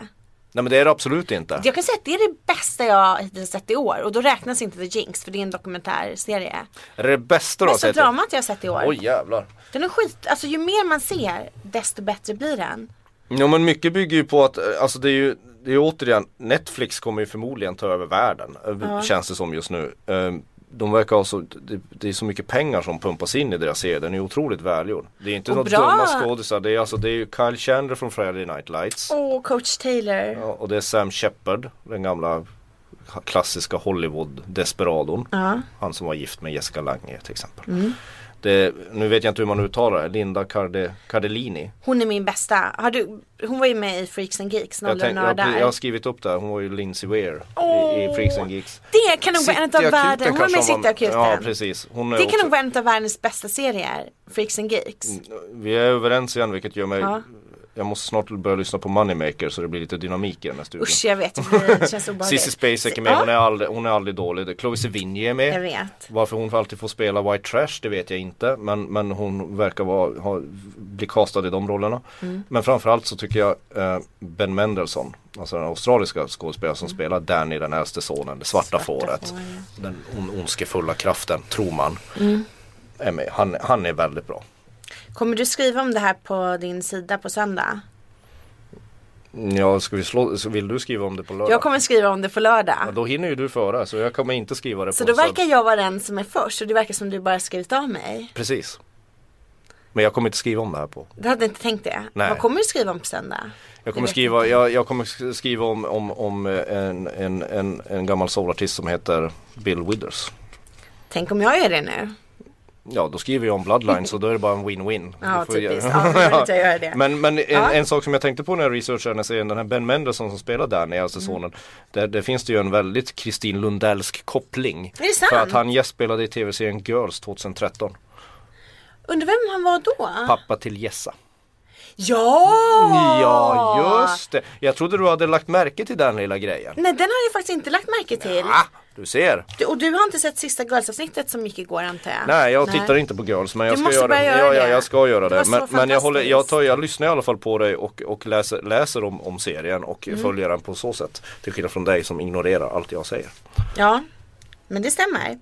Speaker 3: Nej men det är det absolut inte.
Speaker 2: Jag kan säga att det är det bästa jag hittills sett i år och då räknas inte The Jinx för det är en dokumentärserie.
Speaker 3: Det är det bästa du har
Speaker 2: Bästa
Speaker 3: sett. i-
Speaker 2: dramat jag har sett i år.
Speaker 3: Oj jävlar.
Speaker 2: Den är skit, alltså ju mer man ser desto bättre blir den.
Speaker 3: Ja men mycket bygger ju på att, eh, alltså det är ju det är ju återigen, Netflix kommer ju förmodligen ta över världen eh, känns det som just nu. Eh, De verkar ha så, det, det är så mycket pengar som pumpas in i deras serie, den är otroligt välgjord. Det är inte
Speaker 2: Och
Speaker 3: några
Speaker 2: bra.
Speaker 3: dumma skådisar, det är alltså det är ju Kyle Chandler från Friday Night Lights
Speaker 2: Åh, coach Taylor.
Speaker 3: ja, och det är Sam Shepard, den gamla klassiska Hollywood-desperadon. Han som var gift med Jessica Lange till exempel.
Speaker 2: Mm.
Speaker 3: Det, nu vet jag inte hur man uttalar det, Linda Carde, Cardellini.
Speaker 2: Hon är min bästa. Har du, hon var ju med i Freaks and Geeks,
Speaker 3: Jag,
Speaker 2: Noll och
Speaker 3: tänk, jag, jag har
Speaker 2: Nördar.
Speaker 3: skrivit upp det här, hon var ju Lindsay Weir i, i
Speaker 2: Åh.
Speaker 3: Freaks and Geeks.
Speaker 2: Det kan nog vara en av
Speaker 3: Cityakuten
Speaker 2: världens, hon var med i
Speaker 3: kanske
Speaker 2: Cityakuten.
Speaker 3: Ja precis. Hon är
Speaker 2: det kan
Speaker 3: också,
Speaker 2: nog vara en av världens bästa serier, Freaks and Geeks.
Speaker 3: Mm, Vi är överens igen vilket gör mig
Speaker 2: Ja.
Speaker 3: Jag måste snart börja lyssna på Moneymaker så det blir lite dynamik i den här studion.
Speaker 2: Usch jag vet, det blir- det känns obehagligt.
Speaker 3: Cissi Spacek är med,
Speaker 2: Ja,
Speaker 3: hon är aldrig, hon är aldrig dålig. Chloe Sevigny är med.
Speaker 2: Jag vet.
Speaker 3: Varför hon alltid får spela White Trash det vet jag inte men, men hon verkar vara, ha, bli castad i de rollerna.
Speaker 2: Mm.
Speaker 3: Men framförallt så tycker jag eh, Ben Mendelsohn, alltså den australiska skådespelaren som spelar Danny den äldste sonen, det svarta, fåret.
Speaker 2: Mm. fåret. Mm.
Speaker 3: Den on, ondskefulla kraften, tror man. Är med. Han, han är väldigt bra.
Speaker 2: Kommer du skriva om det här på din sida på söndag?
Speaker 3: Ja, ska vi slå, så vill du skriva om det på lördag?
Speaker 2: Jag kommer skriva om det på
Speaker 3: ja,
Speaker 2: lördag.
Speaker 3: då hinner ju du före så jag kommer inte skriva det
Speaker 2: Så
Speaker 3: på
Speaker 2: då verkar jag vara den som är först och det verkar som du bara skrivit av mig.
Speaker 3: Precis. Men jag kommer inte skriva om det här på
Speaker 2: Du hade inte tänkt det?
Speaker 3: Nej.
Speaker 2: Vad kommer du skriva om på söndag?
Speaker 3: Jag kommer
Speaker 2: vet
Speaker 3: skriva,
Speaker 2: inte.
Speaker 3: jag, jag kommer sk- skriva om, om, om eh, en, en, en, en gammal soulartist som heter Bill Withers.
Speaker 2: Tänk om jag gör det nu.
Speaker 3: Ja, då skriver jag om Bloodline så då är det bara en
Speaker 2: (laughs)
Speaker 3: win-win.
Speaker 2: Ja,
Speaker 3: Då får jag-
Speaker 2: typiskt. Ja, då borde inte jag göra det.
Speaker 3: (laughs) Men, men en,
Speaker 2: Ja.
Speaker 3: en sak som jag tänkte på när jag researchade den här serien, den här Ben Mendelsohn som spelar Danny,
Speaker 2: Mm.
Speaker 3: alltså sonen. Där, där finns det ju en väldigt Kristin Lundellsk koppling.
Speaker 2: Är det sant?
Speaker 3: För att han gästspelade i tv-serien Girls 2013.
Speaker 2: Undrar vem han var då?
Speaker 3: Pappa till Jessa.
Speaker 2: Ja! Ah.
Speaker 3: Ja, just det. Jag trodde du hade lagt märke till den lilla grejen.
Speaker 2: Nej den har jag faktiskt inte lagt märke till.
Speaker 3: Ah, du ser.
Speaker 2: Du, och du har inte sett sista Girls-avsnittet som gick igår antar jag?
Speaker 3: Nej jag tittar inte på Girls men jag
Speaker 2: Du
Speaker 3: ska
Speaker 2: måste
Speaker 3: göra det.
Speaker 2: börja
Speaker 3: ja,
Speaker 2: göra
Speaker 3: ja
Speaker 2: det.
Speaker 3: jag ska
Speaker 2: Det
Speaker 3: göra det.
Speaker 2: var
Speaker 3: Men,
Speaker 2: så
Speaker 3: men jag, håller, jag,
Speaker 2: fantastiskt.
Speaker 3: tar, jag lyssnar i alla fall på dig och, och läser, läser om, om serien och
Speaker 2: Mm.
Speaker 3: följer den på så sätt. Till skillnad från dig som ignorerar allt jag säger.
Speaker 2: Ja, men det stämmer.
Speaker 3: Mm.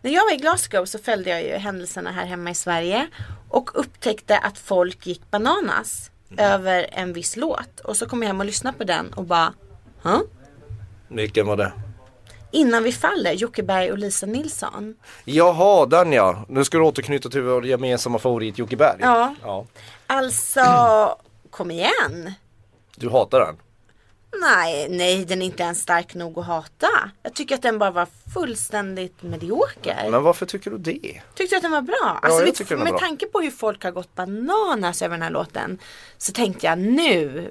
Speaker 2: När jag var i Glasgow så följde jag ju händelserna här hemma i Sverige och upptäckte att folk gick bananas
Speaker 3: Mm.
Speaker 2: över en viss låt. Och så kom jag hem och lyssnade på den och bara, huh?
Speaker 3: Vilken var det?
Speaker 2: Innan vi faller, Jocke Berg och Lisa Nilsson.
Speaker 3: Jaha den ja. Nu ska du återknyta till vår gemensamma favorit Jocke Berg.
Speaker 2: Ja.
Speaker 3: ja.
Speaker 2: Alltså, kom igen.
Speaker 3: Du hatar den.
Speaker 2: Nej, nej den är inte ens stark nog att hata. Jag tycker att den bara var fullständigt medioker.
Speaker 3: Men varför tycker du det?
Speaker 2: Tyckte du att den var bra?
Speaker 3: jag
Speaker 2: Alltså, vet-
Speaker 3: tycker den är
Speaker 2: med
Speaker 3: bra.
Speaker 2: tanke på hur folk har gått bananas över den här låten så tänkte jag nu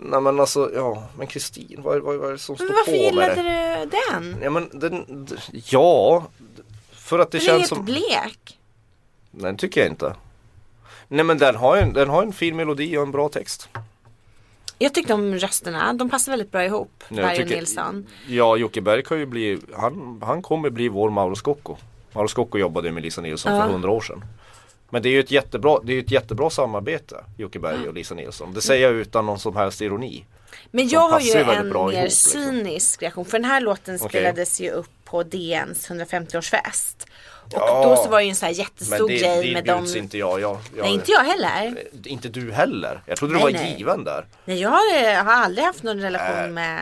Speaker 3: Nej men alltså, ja, men Kristin, vad, vad, vad är det som står
Speaker 2: Men varför
Speaker 3: på med
Speaker 2: gillade
Speaker 3: det?
Speaker 2: du den?
Speaker 3: Ja men den, d- ja, för att det
Speaker 2: Den är
Speaker 3: känns
Speaker 2: helt
Speaker 3: som
Speaker 2: blek.
Speaker 3: Nej det tycker jag inte Nej men den har, ju en, den har en fin melodi och en bra text
Speaker 2: Jag tyckte om rösterna, de passar väldigt bra ihop.
Speaker 3: Nej, jag
Speaker 2: Berg och
Speaker 3: tycker-
Speaker 2: Nilsson.
Speaker 3: Ja Jocke Berg kan ju bli, han, han kommer bli vår Mauro Scocco Mauro Scocco jobbade ju med Lisa Nilsson för hundra år sedan Men det är ju ett jättebra, det är ju ett jättebra samarbete Jocke Berg och Lisa Nilsson Det säger jag utan någon som helst ironi
Speaker 2: Men jag har
Speaker 3: passar
Speaker 2: ju
Speaker 3: ju väldigt
Speaker 2: en
Speaker 3: bra
Speaker 2: mer
Speaker 3: ihop, liksom.
Speaker 2: cynisk reaktion. För den här låten
Speaker 3: Okej.
Speaker 2: spelades ju upp på DNs 150-årsfest. Och
Speaker 3: Ja.
Speaker 2: då så var ju en sån här
Speaker 3: Men
Speaker 2: jättestor
Speaker 3: det,
Speaker 2: grej
Speaker 3: det
Speaker 2: med dem.
Speaker 3: bjuds inte jag, jag, jag Eh,
Speaker 2: Nej inte jag heller.
Speaker 3: Inte du heller Jag trodde
Speaker 2: Nej,
Speaker 3: du var
Speaker 2: nej.
Speaker 3: given där
Speaker 2: Nej jag har, jag har aldrig haft någon relation med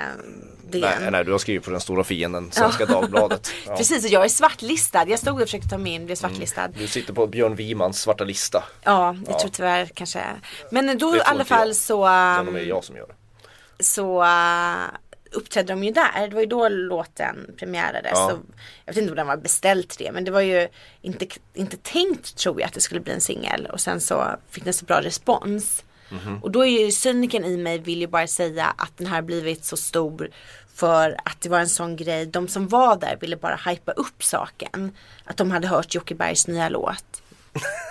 Speaker 2: DN.
Speaker 3: nej, nej du har skrivit på den stora fienden
Speaker 2: (laughs)
Speaker 3: Svenska Dagbladet ja. Mm.
Speaker 2: Precis och jag är svartlistad. Jag stod och försökte ta mig in, blev svartlistad.
Speaker 3: Du sitter på Björn Wimans svarta lista
Speaker 2: Ja, jag tror tyvärr kanske. Men då i alla
Speaker 3: inte jag.
Speaker 2: fall så, um,
Speaker 3: Sen om det är jag som gör det
Speaker 2: så eh, uppträdde de ju där. Det var ju då låten premiärades.
Speaker 3: Ja.
Speaker 2: Så, jag vet inte om den var beställd till det men det var ju inte, inte tänkt tror jag att det skulle bli en singel. Och sen så fick den så bra respons.
Speaker 3: Mhm.
Speaker 2: Och då är ju cyniken i mig vill ju bara säga att den här blivit så stor för att det var en sån grej. De som var där ville bara hypa upp saken. Att de hade hört Jocke Bergs nya låt.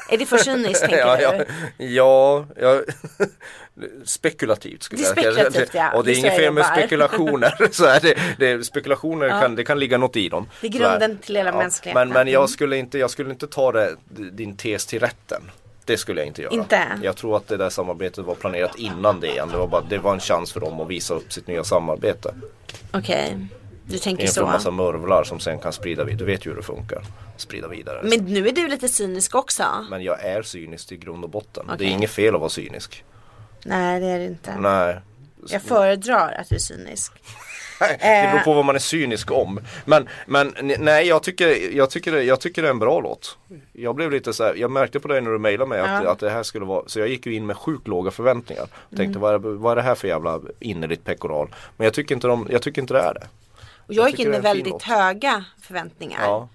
Speaker 2: Är det för cyniskt tänker
Speaker 3: (laughs) ja,
Speaker 2: du?
Speaker 3: ja, ja, ja, (laughs) spekulativt skulle
Speaker 2: Det är
Speaker 3: jag säga.
Speaker 2: spekulativt, ja.
Speaker 3: Och det
Speaker 2: Det
Speaker 3: är
Speaker 2: är
Speaker 3: inget
Speaker 2: så jag
Speaker 3: fel med
Speaker 2: jobbar.
Speaker 3: spekulationer. (laughs) Så är det, det, spekulationer kan, det kan ligga något i dem.
Speaker 2: Det är grunden
Speaker 3: Så här.
Speaker 2: till hela mänskligheten. Mm.
Speaker 3: Men, men jag, skulle inte, jag skulle inte ta det, din tes till rätten. Det skulle jag inte göra.
Speaker 2: Inte?
Speaker 3: Jag tror att det där samarbetet var planerat innan det igen. Det var, bara, det var en chans för dem att visa upp sitt nya samarbete.
Speaker 2: Okej, du tänker
Speaker 3: Inför en massa
Speaker 2: så.
Speaker 3: mörvlar som sen kan sprida vidare. Du vet ju hur det funkar. Sprida vidare.
Speaker 2: Men nu är du lite cynisk också.
Speaker 3: Men jag är cynisk i grund och botten. Det
Speaker 2: Okej.
Speaker 3: är inget fel att vara cynisk.
Speaker 2: Nej det är det inte.
Speaker 3: Nej.
Speaker 2: Jag föredrar att du är cynisk. Eh.
Speaker 3: Det beror på vad man är cynisk om. Men, men n- nej, jag tycker, jag, tycker, det- jag tycker det är en bra låt. Jag blev lite så här, jag märkte på dig när du mejlade mig att, att det här skulle vara, så jag gick ju in med sjukt låga förväntningar. Jag
Speaker 2: Mm.
Speaker 3: tänkte vad, är, vad är det här för jävla innerligt pekoral? Men jag tycker inte, de, jag tycker inte det är det.
Speaker 2: Och jag gick
Speaker 3: tycker
Speaker 2: in
Speaker 3: det är
Speaker 2: med
Speaker 3: en fin
Speaker 2: väldigt
Speaker 3: låt.
Speaker 2: höga förväntningar.
Speaker 3: Ja.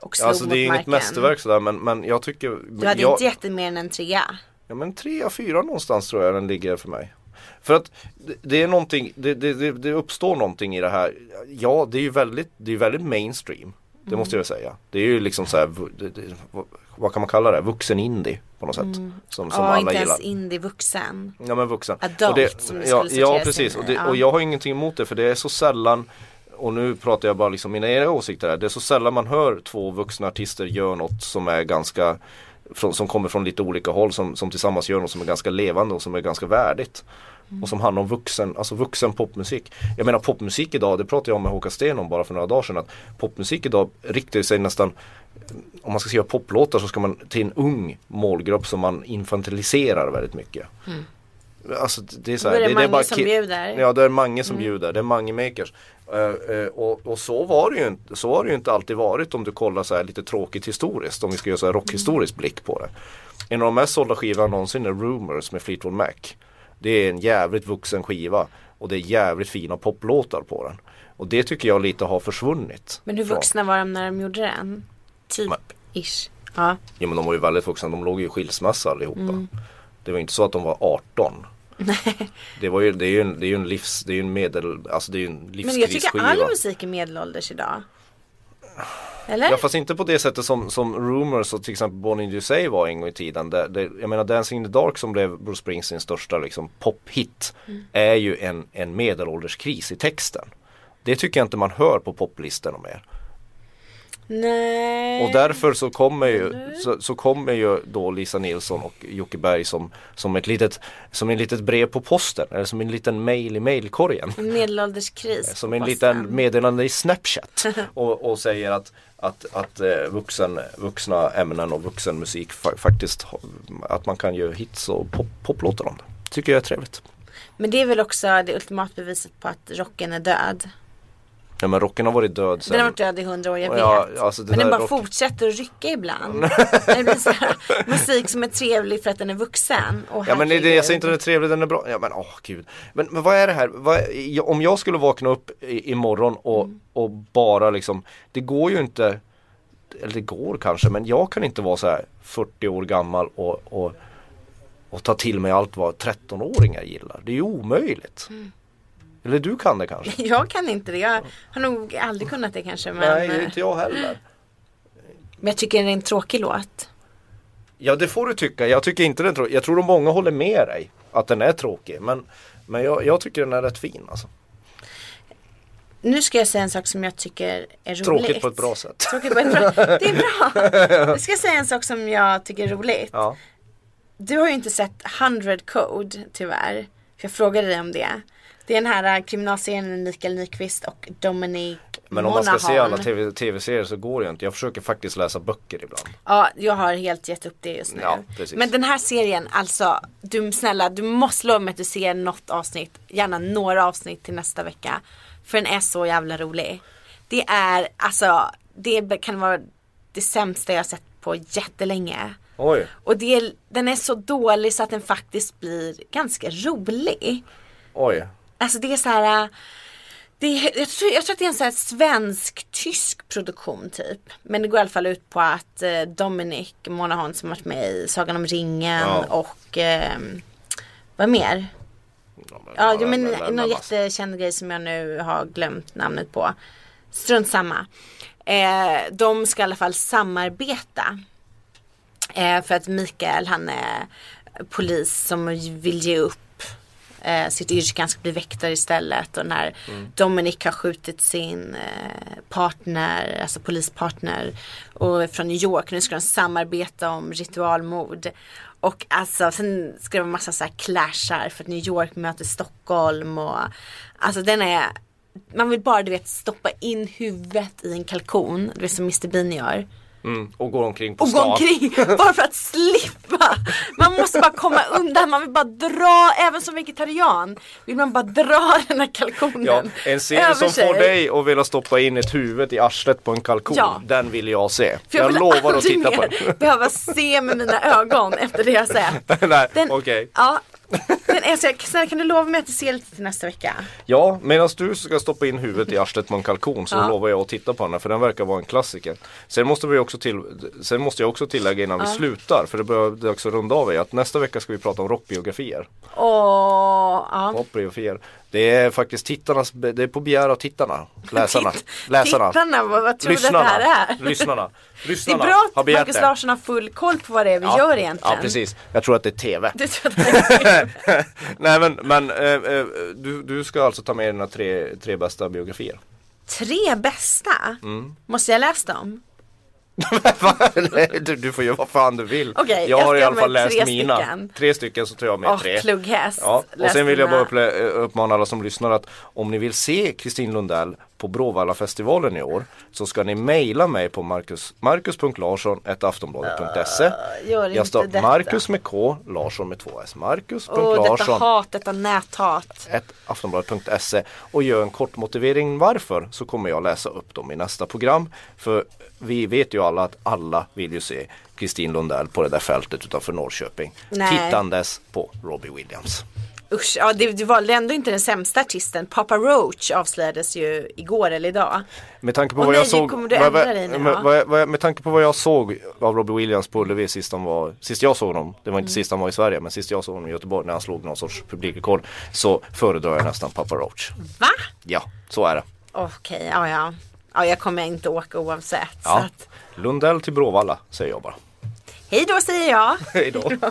Speaker 2: Och slog
Speaker 3: Alltså
Speaker 2: mot
Speaker 3: det är inget
Speaker 2: marken.
Speaker 3: mästerverk sådär men, men jag tycker
Speaker 2: Du hade
Speaker 3: jag,
Speaker 2: inte gett det mer än en trea.
Speaker 3: Ja men trea, fyra någonstans tror jag den ligger för mig. För att det- det är någonting, det, det, det, det uppstår någonting i det här. Ja det är ju väldigt, det är väldigt mainstream. Det måste jag säga. Det är ju liksom så här, vu- det, det, vad- vad kan man kalla det? Vuxen indie på något sätt. Som, som
Speaker 2: Mm. Ja,
Speaker 3: alla
Speaker 2: inte
Speaker 3: gillar.
Speaker 2: ens indie-vuxen.
Speaker 3: Ja men vuxen.
Speaker 2: Adult,
Speaker 3: och det,
Speaker 2: som det
Speaker 3: ja,
Speaker 2: skulle
Speaker 3: ja
Speaker 2: sorteras
Speaker 3: precis
Speaker 2: in i,
Speaker 3: och, det,
Speaker 2: ja.
Speaker 3: och jag har ingenting emot det för det är så sällan och nu pratar jag bara liksom mina egna åsikter här. Det är så sällan man hör två vuxna artister göra något som är ganska från, Som kommer från lite olika håll som, som tillsammans gör något som är ganska levande och som är ganska värdigt.
Speaker 2: Mm.
Speaker 3: Och som handlar om vuxen, alltså vuxen popmusik. Jag menar popmusik idag, det pratade jag om med Håkan Sten om bara för några dagar sedan. Att popmusik idag riktar sig nästan om man ska skriva poplåtar så ska man till en ung målgrupp som man infantiliserar väldigt mycket. Alltså det är så här,
Speaker 2: Mm. Då är det
Speaker 3: är
Speaker 2: Mange
Speaker 3: bara
Speaker 2: som
Speaker 3: ki-
Speaker 2: bjuder. Mm.
Speaker 3: Ja det är Mange som bjuder, det är Mange makers. Eh, eh, och, och så var det ju inte, så har det ju inte alltid varit om du kollar så här lite tråkigt historiskt om vi ska göra så här rockhistorisk
Speaker 2: Mm.
Speaker 3: blick på det. En av de mest sålda skivorna någonsin är Rumors med Fleetwood Mac. Det är en jävligt vuxen skiva och det är jävligt fina poplåtar på den. Och det tycker jag lite har försvunnit.
Speaker 2: Men hur
Speaker 3: från-
Speaker 2: vuxna var de när de gjorde den? Typ,
Speaker 3: Men-
Speaker 2: ish. Ja.
Speaker 3: Ja men de var ju väldigt vuxna, de låg ju i skilsmässa allihopa.
Speaker 2: Mm.
Speaker 3: Det var inte så att de var 18. det, var ju, det är ju en, det är ju en livs, det är ju en medel, alltså det är ju en
Speaker 2: Men jag tycker
Speaker 3: livskrisskiva.
Speaker 2: all musik är medelålders idag. Eller?
Speaker 3: Ja fast inte på det sättet som, som Rumors och till exempel Bonnie Dusay var en gång i tiden. Det, det, jag menar Dancing in the Dark som blev Bruce Springsteens största liksom, pophit
Speaker 2: Mm.
Speaker 3: är ju en, en medelålderskris i texten. Det tycker jag inte man hör på poplistorna mer.
Speaker 2: Nej.
Speaker 3: Och därför så kommer ju, så, så kommer ju då Lisa Nilsson och Jocke Berg som, som, ett litet, som ett litet brev på posten eller som en liten mail i mailkorgen.
Speaker 2: En medelålderskris.
Speaker 3: Som
Speaker 2: på
Speaker 3: en
Speaker 2: posten.
Speaker 3: liten meddelande i Snapchat och, och säger att, att, att eh, vuxen, vuxna ämnen och vuxen musik fa- faktiskt har- att man kan göra hits och pop, poplåtar om det. Tycker jag är trevligt.
Speaker 2: Men det är väl också det ultimata beviset på att rocken är död.
Speaker 3: Ja men rocken har varit död
Speaker 2: Den har
Speaker 3: sen.
Speaker 2: varit död i hundra år, jag vet.
Speaker 3: Ja, alltså det
Speaker 2: men den
Speaker 3: där
Speaker 2: bara
Speaker 3: rock-
Speaker 2: fortsätter att rycka
Speaker 3: (laughs)
Speaker 2: ibland. det blir så här, musik som är trevlig för att den är vuxen. Och
Speaker 3: Ja men det, det- jag säger
Speaker 2: herregud.
Speaker 3: inte den är trevlig, den är bra. Ja men åh gud. Men, men vad är det här? Vad, jag- om jag skulle vakna upp i, imorgon och, och bara liksom, det går ju inte, eller det går kanske, men jag kan inte vara så här 40 år gammal och, och och ta till mig allt vad 13-åringar gillar. Det är ju omöjligt. Eller du kan det
Speaker 2: (laughs)
Speaker 3: kanske?
Speaker 2: Jag kan inte det. Jag har nog aldrig kunnat det kanske. Men, eh,
Speaker 3: Nej, inte jag heller.
Speaker 2: men jag tycker det är en tråkig låt.
Speaker 3: Ja det får du tycka. Jag tycker inte den är tråkig. Jag tror att många håller med dig att den är tråkig. Men, men jag, jag tycker den är rätt fin alltså.
Speaker 2: Nu ska jag säga en sak som jag tycker är roligt.
Speaker 3: Tråkigt på ett bra sätt.
Speaker 2: Tråkigt på ett bra
Speaker 3: (laughs)
Speaker 2: Det är bra. Nu ska jag säga en sak som jag tycker är roligt.
Speaker 3: Ja.
Speaker 2: Du har ju inte sett 100 Code tyvärr. För jag frågade dig om det. Det är den här eh, kriminalserien med Mikael Nyqvist och Dominic
Speaker 3: Men om man
Speaker 2: Monaghan.
Speaker 3: ska se alla TV tv-serier så går det ju inte. Jag försöker faktiskt läsa böcker ibland.
Speaker 2: Ja, jag har helt gett upp det just nu.
Speaker 3: Ja, precis.
Speaker 2: Men den här serien, alltså, du snälla, du måste lova mig att du ser något avsnitt, gärna några avsnitt till nästa vecka. För den är så jävla rolig. Det är, alltså, det kan vara det sämsta jag har sett på jättelänge.
Speaker 3: Oj.
Speaker 2: Och det är, den är så dålig så att den faktiskt blir ganska rolig.
Speaker 3: Oj.
Speaker 2: Alltså det är så här. äh, Det är, jag, tror, jag tror att det är en så här svensk-tysk produktion typ. Men det går i alla fall ut på att eh, Dominic Monaghan som varit med i Sagan om ringen
Speaker 3: Ja.
Speaker 2: och ehm, vad mer? Ja, jo, men någon jättekänd grej som jag nu har glömt namnet på. Strunt samma. Eh, de ska i alla fall samarbeta. Eh, för att Mikael han är polis som vill ge upp eh, sitt yrke. Han ska bli väktare istället. Och när Dominic har skjutit sin eh, partner, alltså polispartner. Och är från New York. Nu ska de samarbeta om ritualmord. Och alltså sen ska det vara massa så här clashar för att New York möter Stockholm och alltså den är man vill bara du vet stoppa in huvudet i en kalkon, du vet som Mr Bean gör.
Speaker 3: Mm, och går omkring på
Speaker 2: Och gå
Speaker 3: stan.
Speaker 2: omkring (laughs) bara för att slippa. Man måste bara komma undan, man vill bara dra, även som vegetarian vill man bara dra den här kalkonen
Speaker 3: Ja, en serie
Speaker 2: över
Speaker 3: som
Speaker 2: sig.
Speaker 3: får dig att vilja stoppa in ett huvud i arslet på en kalkon.
Speaker 2: Ja.
Speaker 3: Den vill jag se.
Speaker 2: För
Speaker 3: jag
Speaker 2: vill
Speaker 3: lovar att
Speaker 2: aldrig
Speaker 3: titta på
Speaker 2: mer
Speaker 3: den. (laughs)
Speaker 2: behöva se med mina ögon efter det jag har sett.
Speaker 3: Nej,
Speaker 2: Den-
Speaker 3: okej.
Speaker 2: Ja, den är så jag, snälla, kan du lova mig att du ser lite till nästa vecka?
Speaker 3: Ja, medan du ska stoppa in huvudet i arslet på en kalkon så
Speaker 2: Ja.
Speaker 3: lovar jag att titta på den här, för den verkar vara en klassiker. Sen måste, vi också till, sen måste jag också tillägga innan vi slutar, för det börjar det är också runda av i, att nästa vecka ska vi prata om rockbiografier.
Speaker 2: Åh, ja.
Speaker 3: Rockbiografier. Det är faktiskt tittarnas, be- det är på begär av tittarna, läsarna, läsarna,
Speaker 2: Tittarna, vad, vad tror du att det
Speaker 3: lyssnarna,
Speaker 2: här är?
Speaker 3: lyssnarna,
Speaker 2: Det är
Speaker 3: lyssnarna
Speaker 2: bra
Speaker 3: har
Speaker 2: att
Speaker 3: begärt
Speaker 2: Marcus
Speaker 3: det.
Speaker 2: Larsson har full koll på vad det är vi gör egentligen.
Speaker 3: Ja precis, jag tror att det är TV.
Speaker 2: Du tror att (laughs) det är-
Speaker 3: Nej men, men eh, eh, du, du ska alltså ta med dina tre, tre bästa biografier.
Speaker 2: Tre bästa? Måste jag läsa dem?
Speaker 3: (laughs) Nej, du, du får göra vad fan du vill.
Speaker 2: Okej, jag
Speaker 3: jag har
Speaker 2: ska
Speaker 3: i alla
Speaker 2: med
Speaker 3: fall läst
Speaker 2: tre
Speaker 3: mina.
Speaker 2: stycken.
Speaker 3: Tre stycken så tar jag med
Speaker 2: Åh,
Speaker 3: tre.
Speaker 2: plugghäst.
Speaker 3: Ja, och
Speaker 2: Läs
Speaker 3: sen vill jag bara
Speaker 2: dina-
Speaker 3: upple- eh, uppmana alla som lyssnar att om ni vill se Kristin Lundell på Bråvallafestivalen i år så ska ni mejla mig på marcus, marcus.larsson.aftonbladet.se
Speaker 2: Ah, gör inte
Speaker 3: Jag står
Speaker 2: detta.
Speaker 3: Marcus med K, Larsson med två S.
Speaker 2: Åh, detta
Speaker 3: Marcus.larsson
Speaker 2: hat, detta näthat.
Speaker 3: ett aftonbladet.se E och gör en kort motivering varför så kommer jag läsa upp dem i nästa program. För vi vet ju alla att alla vill ju se Kristin Lundell på det där fältet utanför Norrköping.
Speaker 2: Nej.
Speaker 3: Tittandes på Robbie Williams.
Speaker 2: Usch, ja, det, du valde ändå inte den sämsta artisten. Papa Roach avslöjades ju igår eller idag.
Speaker 3: Med tanke på
Speaker 2: Åh
Speaker 3: vad
Speaker 2: nej,
Speaker 3: jag såg
Speaker 2: kommer du
Speaker 3: vad-
Speaker 2: ändra dig nu,
Speaker 3: vad-
Speaker 2: ja?
Speaker 3: vad- vad- Med tanke på vad jag såg av Robbie Williams på Ullevi sist han var Sist jag såg honom, det var
Speaker 2: Mm.
Speaker 3: inte sist han var i Sverige men sist jag såg honom i Göteborg när han slog någon sorts publikrekord Så föredrar jag nästan Papa Roach.
Speaker 2: Va?
Speaker 3: Ja, så är det.
Speaker 2: Okej, ja ja. Ja, jag kommer inte åka oavsett. Så
Speaker 3: Ja.
Speaker 2: att,
Speaker 3: Lundell till Bråvalla säger jag bara.
Speaker 2: hej då säger jag.
Speaker 3: Hej då.